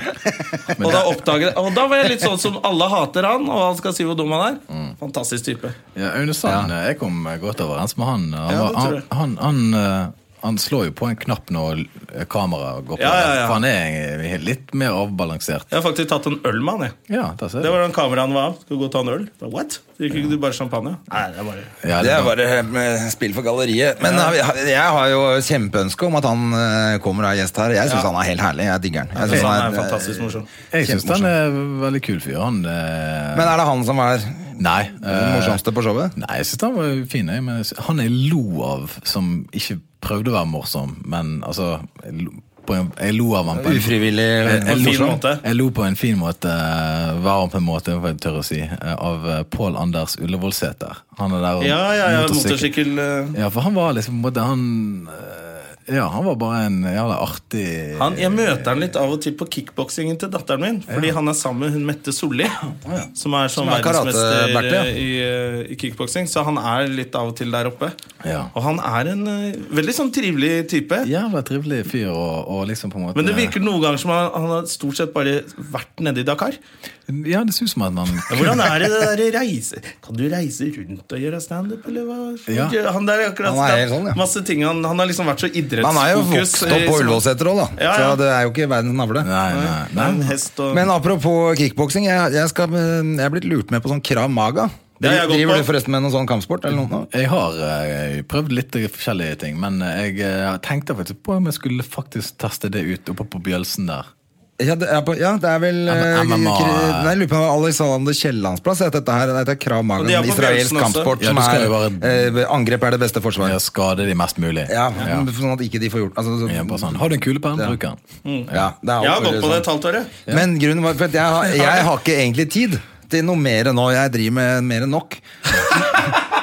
Speaker 1: Og da, oppdaget... og da var jeg litt sånn som alle hater han, og han skal si hvor dum han er. Fantastisk type.
Speaker 3: Ja, Aune Sand. eh, Jeg kom eh, godt overens med han. Han,
Speaker 1: Ja,
Speaker 3: var-
Speaker 1: det tror
Speaker 3: han,
Speaker 1: jeg.
Speaker 3: han, han, eh, Han slår jo på en knapp når eh, kameraet går på.
Speaker 1: Ja, ja, ja.
Speaker 3: For han er eh, litt mer avbalansert.
Speaker 1: Jeg har faktisk tatt en øl med han, jeg.
Speaker 3: Ja, der ser
Speaker 1: Det
Speaker 3: du.
Speaker 1: var den kameraen var av. Skal vi gå og ta en øl? Bare, What? Drikker ikke du bare champagne? Nei, det er bare...
Speaker 3: Ja,
Speaker 2: Det
Speaker 3: det
Speaker 2: er
Speaker 3: var-
Speaker 2: bare eh, spill for galleriet. Men eh, jeg har jo kjempeønske om at han eh, kommer og er gjest her. Jeg syns
Speaker 1: Ja.
Speaker 2: han er helt herlig. Jeg digger han. Jeg
Speaker 1: Så
Speaker 2: synes
Speaker 1: han er
Speaker 2: eh,
Speaker 1: fantastisk morsom.
Speaker 3: Jeg syns han er en veldig kul fyr. Han eh,
Speaker 2: Men er det han som er
Speaker 3: Nei.
Speaker 2: den
Speaker 3: eh,
Speaker 2: morsomste på showet?
Speaker 3: Nei, jeg syns han var fin, jeg. Men jeg sy- han jeg lo av, som ikke prøvde å være morsom, men altså Jeg lo, på en, jeg lo av han på en
Speaker 2: Ufrivillig
Speaker 3: Jeg- jeg
Speaker 1: fin
Speaker 3: lo-
Speaker 1: måte.
Speaker 3: Jeg lo på en fin måte, eh, varm på en måte, hva jeg tør å si, eh, av eh, Pål Anders Ullevålsæter. Han er der og
Speaker 1: Ja, ja, ja,
Speaker 3: motorsykkel-
Speaker 1: motorsykkel... eh,
Speaker 3: Ja, for han var liksom på en måte Han eh, Ja, han var bare en jævla artig
Speaker 1: Han, jeg møter han litt av og til på kickboksingen til datteren min. Fordi han er sammen med hun Mette Solli, som er sånn
Speaker 2: Som er
Speaker 1: verdensmester
Speaker 2: karate-Berthe, ja.
Speaker 1: eh, i, eh, i kickboksing. Så han er litt av og til der oppe.
Speaker 3: Ja.
Speaker 1: Og han er en eh, veldig sånn trivelig type.
Speaker 3: Jævla trivelig fyr, og, og liksom på en måte
Speaker 1: Men det virker noen ganger som han, han har stort sett bare vært nede i Dakar.
Speaker 3: Ja, det ser ut som at han
Speaker 1: Ja, Hvordan er det det der reise Kan du reise rundt og gjøre standup, eller hva?
Speaker 3: Ja.
Speaker 1: Han der er akkurat
Speaker 2: Han er helt sånn, ja.
Speaker 1: Masse ting han, han har liksom vært så idrettsfokus.
Speaker 2: Han er jo vokst opp
Speaker 1: eh,
Speaker 2: på
Speaker 1: som-
Speaker 2: Ullevålseter òg, da.
Speaker 1: Ja, ja.
Speaker 2: Så det er jo ikke verdens navle.
Speaker 3: Nei, nei.
Speaker 1: Nei,
Speaker 3: nei.
Speaker 1: en hest og
Speaker 2: Men apropos kickboksing, jeg, jeg, skal- eh, jeg er blitt lurt med på sånn krav maga.
Speaker 1: Det har jeg gått
Speaker 2: Driver
Speaker 1: på.
Speaker 2: du forresten med noen sånn kampsport? eller noe?
Speaker 3: Jeg har eh, prøvd litt forskjellige ting, men jeg eh, tenkte faktisk på om jeg skulle faktisk teste det ut oppe på Bjølsen der.
Speaker 2: Ja, det er, på, ja, det er vel eh,
Speaker 3: MMA.
Speaker 2: kri- Nei, jeg lurer på om Alexander Kiellandsplass het dette her. Det heter Krav Maga,
Speaker 1: Og de er
Speaker 2: en
Speaker 1: på
Speaker 2: israelsk
Speaker 1: Bjørnsen også.
Speaker 2: kampsport
Speaker 3: Ja,
Speaker 2: som
Speaker 3: du skal
Speaker 2: er
Speaker 3: jo
Speaker 2: eh, Angrep er det beste forsvar.
Speaker 3: Jeg skade de mest mulig.
Speaker 2: Ja,
Speaker 3: Ja.
Speaker 2: Sånn at ikke de får gjort altså, så-
Speaker 3: Ja, bare sånn. Har du en kulepenn,
Speaker 2: Ja.
Speaker 3: bruk den.
Speaker 2: Ja, det er
Speaker 1: Jeg har
Speaker 2: alt mulig
Speaker 1: gått på det
Speaker 2: sånn.
Speaker 1: et halvt år, jeg.
Speaker 2: Men grunnen var for at jeg, har- jeg har ikke egentlig tid til noe mer nå. Jeg driver med mer enn nok.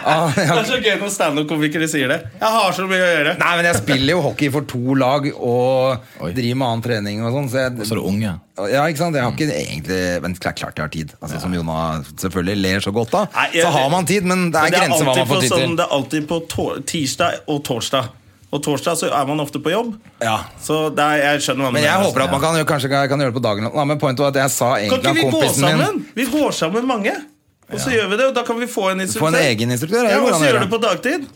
Speaker 2: Ah, jeg
Speaker 1: Det
Speaker 2: har
Speaker 1: er så gøy når standup-komikere sier det. Jeg har så mye å gjøre.
Speaker 2: Nei, men jeg spiller jo hockey for to lag og
Speaker 3: Oi.
Speaker 2: driver med annen trening og sånn. Så jeg,
Speaker 3: Så er det unge.
Speaker 2: ja, ikke sant? Jeg har ikke egentlig Men klart, klart jeg har tid. Altså, Som Jona selvfølgelig ler så godt av.
Speaker 1: Nei, jeg-
Speaker 2: så har man tid, men det
Speaker 1: Men
Speaker 2: er grenser hva
Speaker 1: alltid
Speaker 2: man får
Speaker 1: på
Speaker 2: tid
Speaker 1: sånn-
Speaker 2: til.
Speaker 1: det er alltid på tor- tirsdag og torsdag. Og torsdag så er man ofte på jobb.
Speaker 2: Ja.
Speaker 1: Så det er, jeg skjønner hva du
Speaker 2: Men jeg
Speaker 1: mener.
Speaker 2: håper at man kan, jo- kanskje kan, kan gjøre det på dagen. Nei, men pointet var at jeg sa
Speaker 1: Kan
Speaker 2: egentlig
Speaker 1: ikke
Speaker 2: at
Speaker 1: vi gå
Speaker 2: kompisen
Speaker 1: sammen?
Speaker 2: min
Speaker 1: Vi går sammen mange. Og så gjør vi det, og da kan vi få en instruktør.
Speaker 2: Få en egen instruktør, ja,
Speaker 1: Ja,
Speaker 2: det går
Speaker 1: og
Speaker 2: an
Speaker 1: så
Speaker 2: å
Speaker 1: gjør
Speaker 2: gjøre.
Speaker 1: du det på dagtid.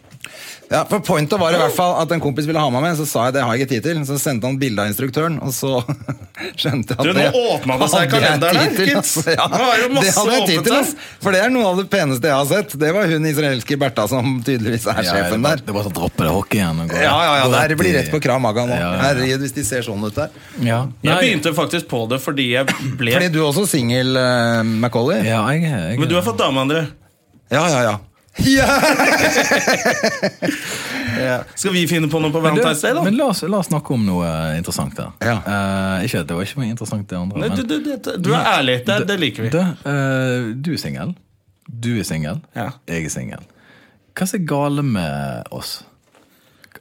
Speaker 2: Ja, for pointet var i hvert fall at en kompis ville ha meg med, så sa jeg det har jeg ikke tid til. Så sendte han bilde av instruktøren, og så skjønte jeg at
Speaker 1: Du, nå åpna det seg i
Speaker 2: hadde jeg
Speaker 1: kalenderen
Speaker 2: tid
Speaker 1: her,
Speaker 2: til,
Speaker 1: gitt.
Speaker 2: altså. Ja,
Speaker 1: Nå er det jo
Speaker 2: det
Speaker 1: masse
Speaker 2: hadde jeg tid
Speaker 1: åpent
Speaker 2: til,
Speaker 1: her.
Speaker 2: ass. For det er noe av det peneste jeg har sett. Det var hun israelske Bertha som tydeligvis er
Speaker 3: Ja, det,
Speaker 2: sjefen
Speaker 3: var,
Speaker 2: der.
Speaker 3: det var sånn droppe det hockey igjen. Og gå,
Speaker 2: Ja, ja, ja,
Speaker 3: gå
Speaker 2: det her blir rett
Speaker 3: i-
Speaker 2: på Krav Maga nå.
Speaker 3: Ja, ja, ja.
Speaker 2: Herregud, hvis de ser sånn ut der.
Speaker 3: Ja.
Speaker 1: Jeg
Speaker 3: Nei.
Speaker 1: begynte faktisk på det fordi jeg ble
Speaker 2: Fordi du er også singel, uh, Macauley?
Speaker 3: Ja, jeg, jeg,
Speaker 1: Men du har fått dame, André.
Speaker 2: Ja, ja, ja. Ja!
Speaker 1: Skal vi finne på noe på
Speaker 3: Men du,
Speaker 1: Valentine's Day, da?
Speaker 3: Men la oss, la oss snakke om noe eh, interessant der.
Speaker 2: Ja.
Speaker 3: Eh, ikke, det var ikke noe interessant, det andre.
Speaker 1: Nei,
Speaker 3: men-
Speaker 1: du, du, du, du er ærlig. Det, det liker vi.
Speaker 3: Du, eh, du er singel. Du er singel.
Speaker 1: Ja.
Speaker 3: Jeg er singel. Hva som er gale med oss?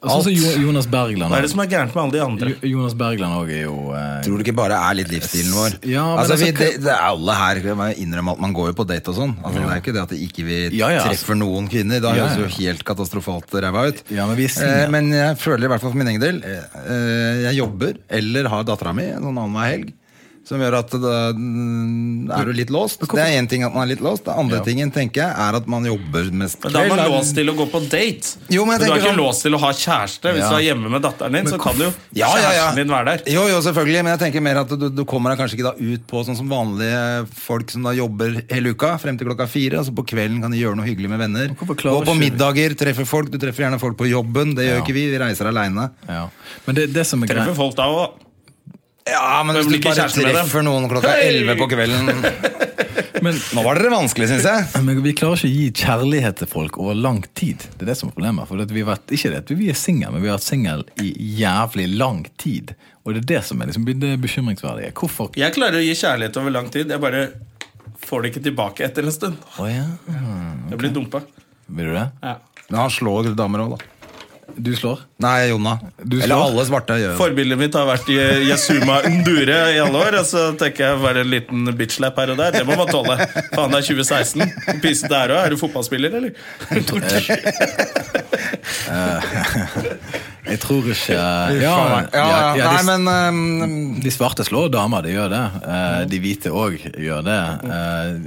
Speaker 3: Sånn som Jo- Jonas Bergland.
Speaker 1: Hva er det som er gærent med alle de andre?
Speaker 3: Jo- Jonas Bergland òg er jo eh,
Speaker 2: Tror du ikke bare er litt livsstilen vår?
Speaker 3: Ja, men
Speaker 2: altså, vi,
Speaker 3: altså,
Speaker 2: det, det er alle her jeg må innrømme at man går jo på date og sånn. Altså, det er jo ikke det at det ikke vi
Speaker 3: Ja, ja,
Speaker 2: treffer noen kvinner. Da
Speaker 3: Ja,
Speaker 2: høres jo
Speaker 3: ja.
Speaker 2: helt katastrofalt ræva ut.
Speaker 3: Ja, men vi er single.
Speaker 2: eh, men jeg føler i hvert fall for min egen del eh, Jeg jobber eller har dattera mi noen annenhver helg. Som gjør at da mm, er du litt låst. Det er én ting at man er litt låst. Det andre
Speaker 3: Ja.
Speaker 2: tingen tenker jeg er at man jobber mest
Speaker 1: Men da er man
Speaker 2: kveld.
Speaker 1: låst til å gå på date.
Speaker 2: Jo, men jeg
Speaker 1: du er
Speaker 2: tenker
Speaker 1: ikke
Speaker 2: sånn-
Speaker 1: låst til å ha kjæreste. Hvis
Speaker 3: Ja.
Speaker 1: du er hjemme med datteren din, så kan jo
Speaker 2: Ja, ja, ja.
Speaker 1: kjæresten din være der.
Speaker 2: Jo, jo, selvfølgelig, men jeg tenker mer at du, du kommer deg kanskje ikke da ut på sånn som vanlige folk som da jobber hele uka, frem til klokka fire, og så på kvelden kan de gjøre noe hyggelig med venner.
Speaker 3: hvorfor
Speaker 2: Gå
Speaker 3: klarer
Speaker 2: på
Speaker 3: ikke vi-
Speaker 2: middager, treffe folk, du treffer gjerne folk på jobben, det gjør
Speaker 3: Ja.
Speaker 2: ikke vi, vi reiser alene.
Speaker 3: ja. Men det, det som er
Speaker 1: Treffer
Speaker 3: greit
Speaker 1: folk da òg.
Speaker 2: Ja, men
Speaker 1: Men
Speaker 2: hvis
Speaker 1: blir ikke
Speaker 2: du bare
Speaker 1: kjæreste med dem.
Speaker 2: treffer noen klokka
Speaker 1: Hei!
Speaker 2: elleve på kvelden,
Speaker 3: men,
Speaker 2: nå var dere vanskelig, synes jeg.
Speaker 3: men vi klarer ikke å gi kjærlighet til folk over lang tid. Det er det som er problemet. For at vi, har vært, ikke det, at vi er single, men vi har vært single i jævlig lang tid. Og det er det som er liksom, det bekymringsverdige. Hvorfor
Speaker 1: Jeg klarer å gi kjærlighet over lang tid. Jeg bare får det ikke tilbake etter en stund.
Speaker 3: Å ja.
Speaker 1: Jeg blir dumpa.
Speaker 3: Vil du det?
Speaker 1: Ja.
Speaker 2: Men han slår damer også, da.
Speaker 3: Du slår?
Speaker 2: Nei, Jonna.
Speaker 3: Du
Speaker 2: Eller
Speaker 3: slår?
Speaker 2: alle svarte gjør jo det.
Speaker 1: Forbildet mitt har vært Je- Yasuma Ndure i alle år. Og så tenker jeg bare en liten bitchlap her og der. Det må man tåle. Faen, det er 2016. Hvor Pysete er du. Er du fotballspiller, eller?
Speaker 3: Jeg tror ikke Ja,
Speaker 2: ja, ja,
Speaker 3: ja,
Speaker 2: Nei,
Speaker 3: de-
Speaker 2: men ehm,
Speaker 3: De svarte slår damer, de gjør det. Eh, De hvite òg gjør det.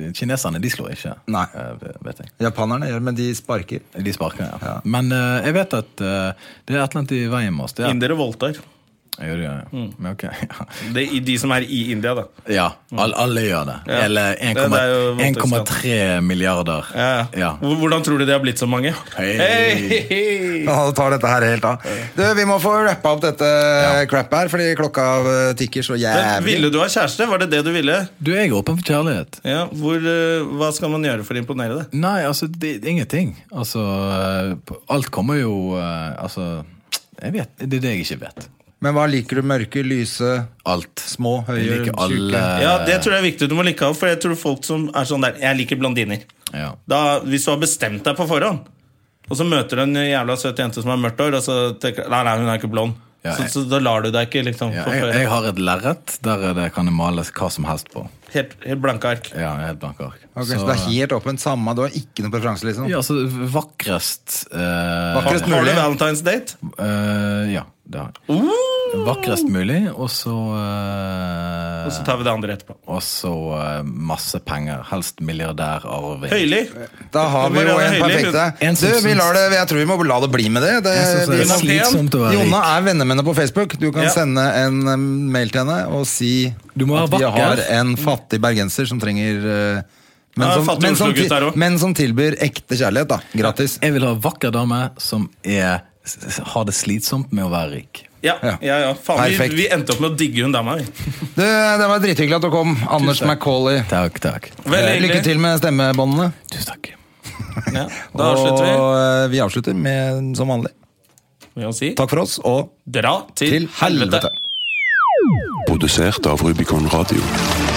Speaker 3: Eh, Kineserne de slår ikke,
Speaker 2: Nei.
Speaker 3: eh, vet jeg.
Speaker 2: Japanerne gjør, men de sparker.
Speaker 3: De sparker, ja. Men eh, jeg vet at eh, det er et eller annet i veien med oss. Det er,
Speaker 1: Indere voldtar.
Speaker 3: jeg gjør det, ja.
Speaker 1: Mm.
Speaker 3: Men ok, ja.
Speaker 1: Det er i- de som er i India, da.
Speaker 3: Ja, all, alle gjør det.
Speaker 1: Mm. Ja.
Speaker 3: Eller
Speaker 1: Det- det er jo voldtektsskandale.
Speaker 3: 1,3 milliarder.
Speaker 1: Ja.
Speaker 3: Ja.
Speaker 1: Hvor- Hvordan tror du det har blitt så mange?
Speaker 3: Hei.
Speaker 1: Hei.
Speaker 2: Ja, da tar dette her helt av. Du, vi må få rappa opp dette crap her, fordi klokka eh, tikker så
Speaker 1: Men
Speaker 2: jævlig.
Speaker 1: Ville du ha kjæreste? Var det det du ville?
Speaker 3: Du jeg er åpen for kjærlighet.
Speaker 1: Ja, hvor, eh, hva skal man gjøre for å imponere deg?
Speaker 3: Nei, altså, det, det er ingenting. Altså, eh, alt kommer jo eh, Altså, jeg vet, det er det jeg ikke vet.
Speaker 2: Men hva liker du? Mørke, lyse,
Speaker 3: Alt.
Speaker 2: små, høye,
Speaker 3: Jeg liker alle
Speaker 2: tjukke?
Speaker 1: Ja, Det tror jeg er viktig. Du må like av, for jeg tror folk som er sånn der Jeg liker blondiner.
Speaker 3: Ja.
Speaker 1: Da, hvis du har bestemt deg på forhånd, og så møter du en jævla søt jente som har mørkt hår, og så tenker du, Nei, nei, hun er ikke blond.
Speaker 3: Ja,
Speaker 1: så,
Speaker 3: jeg-
Speaker 1: så da lar du deg ikke liksom
Speaker 3: Ja, jeg,
Speaker 1: forføre.
Speaker 3: jeg har et lerret der det kan jeg male hva som helst på.
Speaker 1: Helt, helt blanke ark.
Speaker 3: Ja, helt blanke ark.
Speaker 2: Ok, så, det er helt åpent? Samme, du har ikke noen preferanse, liksom?
Speaker 3: ja, så vakrest eh,
Speaker 1: Har
Speaker 2: Vakrest
Speaker 1: har du
Speaker 2: mulig.
Speaker 1: Valentine's date?
Speaker 3: eh, Ja, det har jeg.
Speaker 1: Uh!
Speaker 3: Vakrest mulig, og så eh,
Speaker 1: Og så tar vi det andre etterpå.
Speaker 3: Og så eh, masse penger. Helst milliardærarving.
Speaker 1: Høyli.
Speaker 2: Da har vi jo
Speaker 1: Marianne
Speaker 2: en
Speaker 1: Høili,
Speaker 2: perfekte.
Speaker 3: en
Speaker 2: Du,
Speaker 3: som
Speaker 2: vi
Speaker 3: syns-
Speaker 2: lar det, jeg tror vi må la det bli med det. det
Speaker 3: Jeg synes det
Speaker 2: vi
Speaker 3: er
Speaker 1: må-
Speaker 3: slitsomt å være
Speaker 2: Jonna
Speaker 3: rik.
Speaker 2: er vennene på Facebook. Du kan
Speaker 1: Ja.
Speaker 2: sende en eh, mail til henne og si
Speaker 3: Du må
Speaker 2: at
Speaker 3: være
Speaker 2: vi
Speaker 3: vakker.
Speaker 2: har en fattig bergenser som trenger eh, men
Speaker 1: Ja,
Speaker 2: som,
Speaker 1: fattig
Speaker 2: men, som,
Speaker 1: Oslo-gutt der
Speaker 2: til-
Speaker 1: også.
Speaker 2: men som tilbyr ekte kjærlighet, da. Gratis.
Speaker 3: Jeg vil ha en vakker dame som er, s- s- har det slitsomt med å være rik.
Speaker 1: Ja,
Speaker 2: Ja.
Speaker 1: ja, ja. Faen, vi,
Speaker 2: Perfekt.
Speaker 1: vi endte opp med å digge hun dama. vi.
Speaker 2: Du, det var drithyggelig at du kom, Anders
Speaker 3: Tusen takk.
Speaker 2: Macauley.
Speaker 3: Takk, takk.
Speaker 1: Veldig
Speaker 2: Eh, Lykke
Speaker 1: hyggelig.
Speaker 2: til med stemmebåndene.
Speaker 3: Tusen takk.
Speaker 1: Ja, da
Speaker 2: og
Speaker 1: avslutter vi
Speaker 2: eh, vi avslutter med som vanlig.
Speaker 1: med å si
Speaker 2: Takk for oss, og
Speaker 1: dra til,
Speaker 2: til helvete.
Speaker 1: helvete.
Speaker 4: Produsert av Rubicon Radio.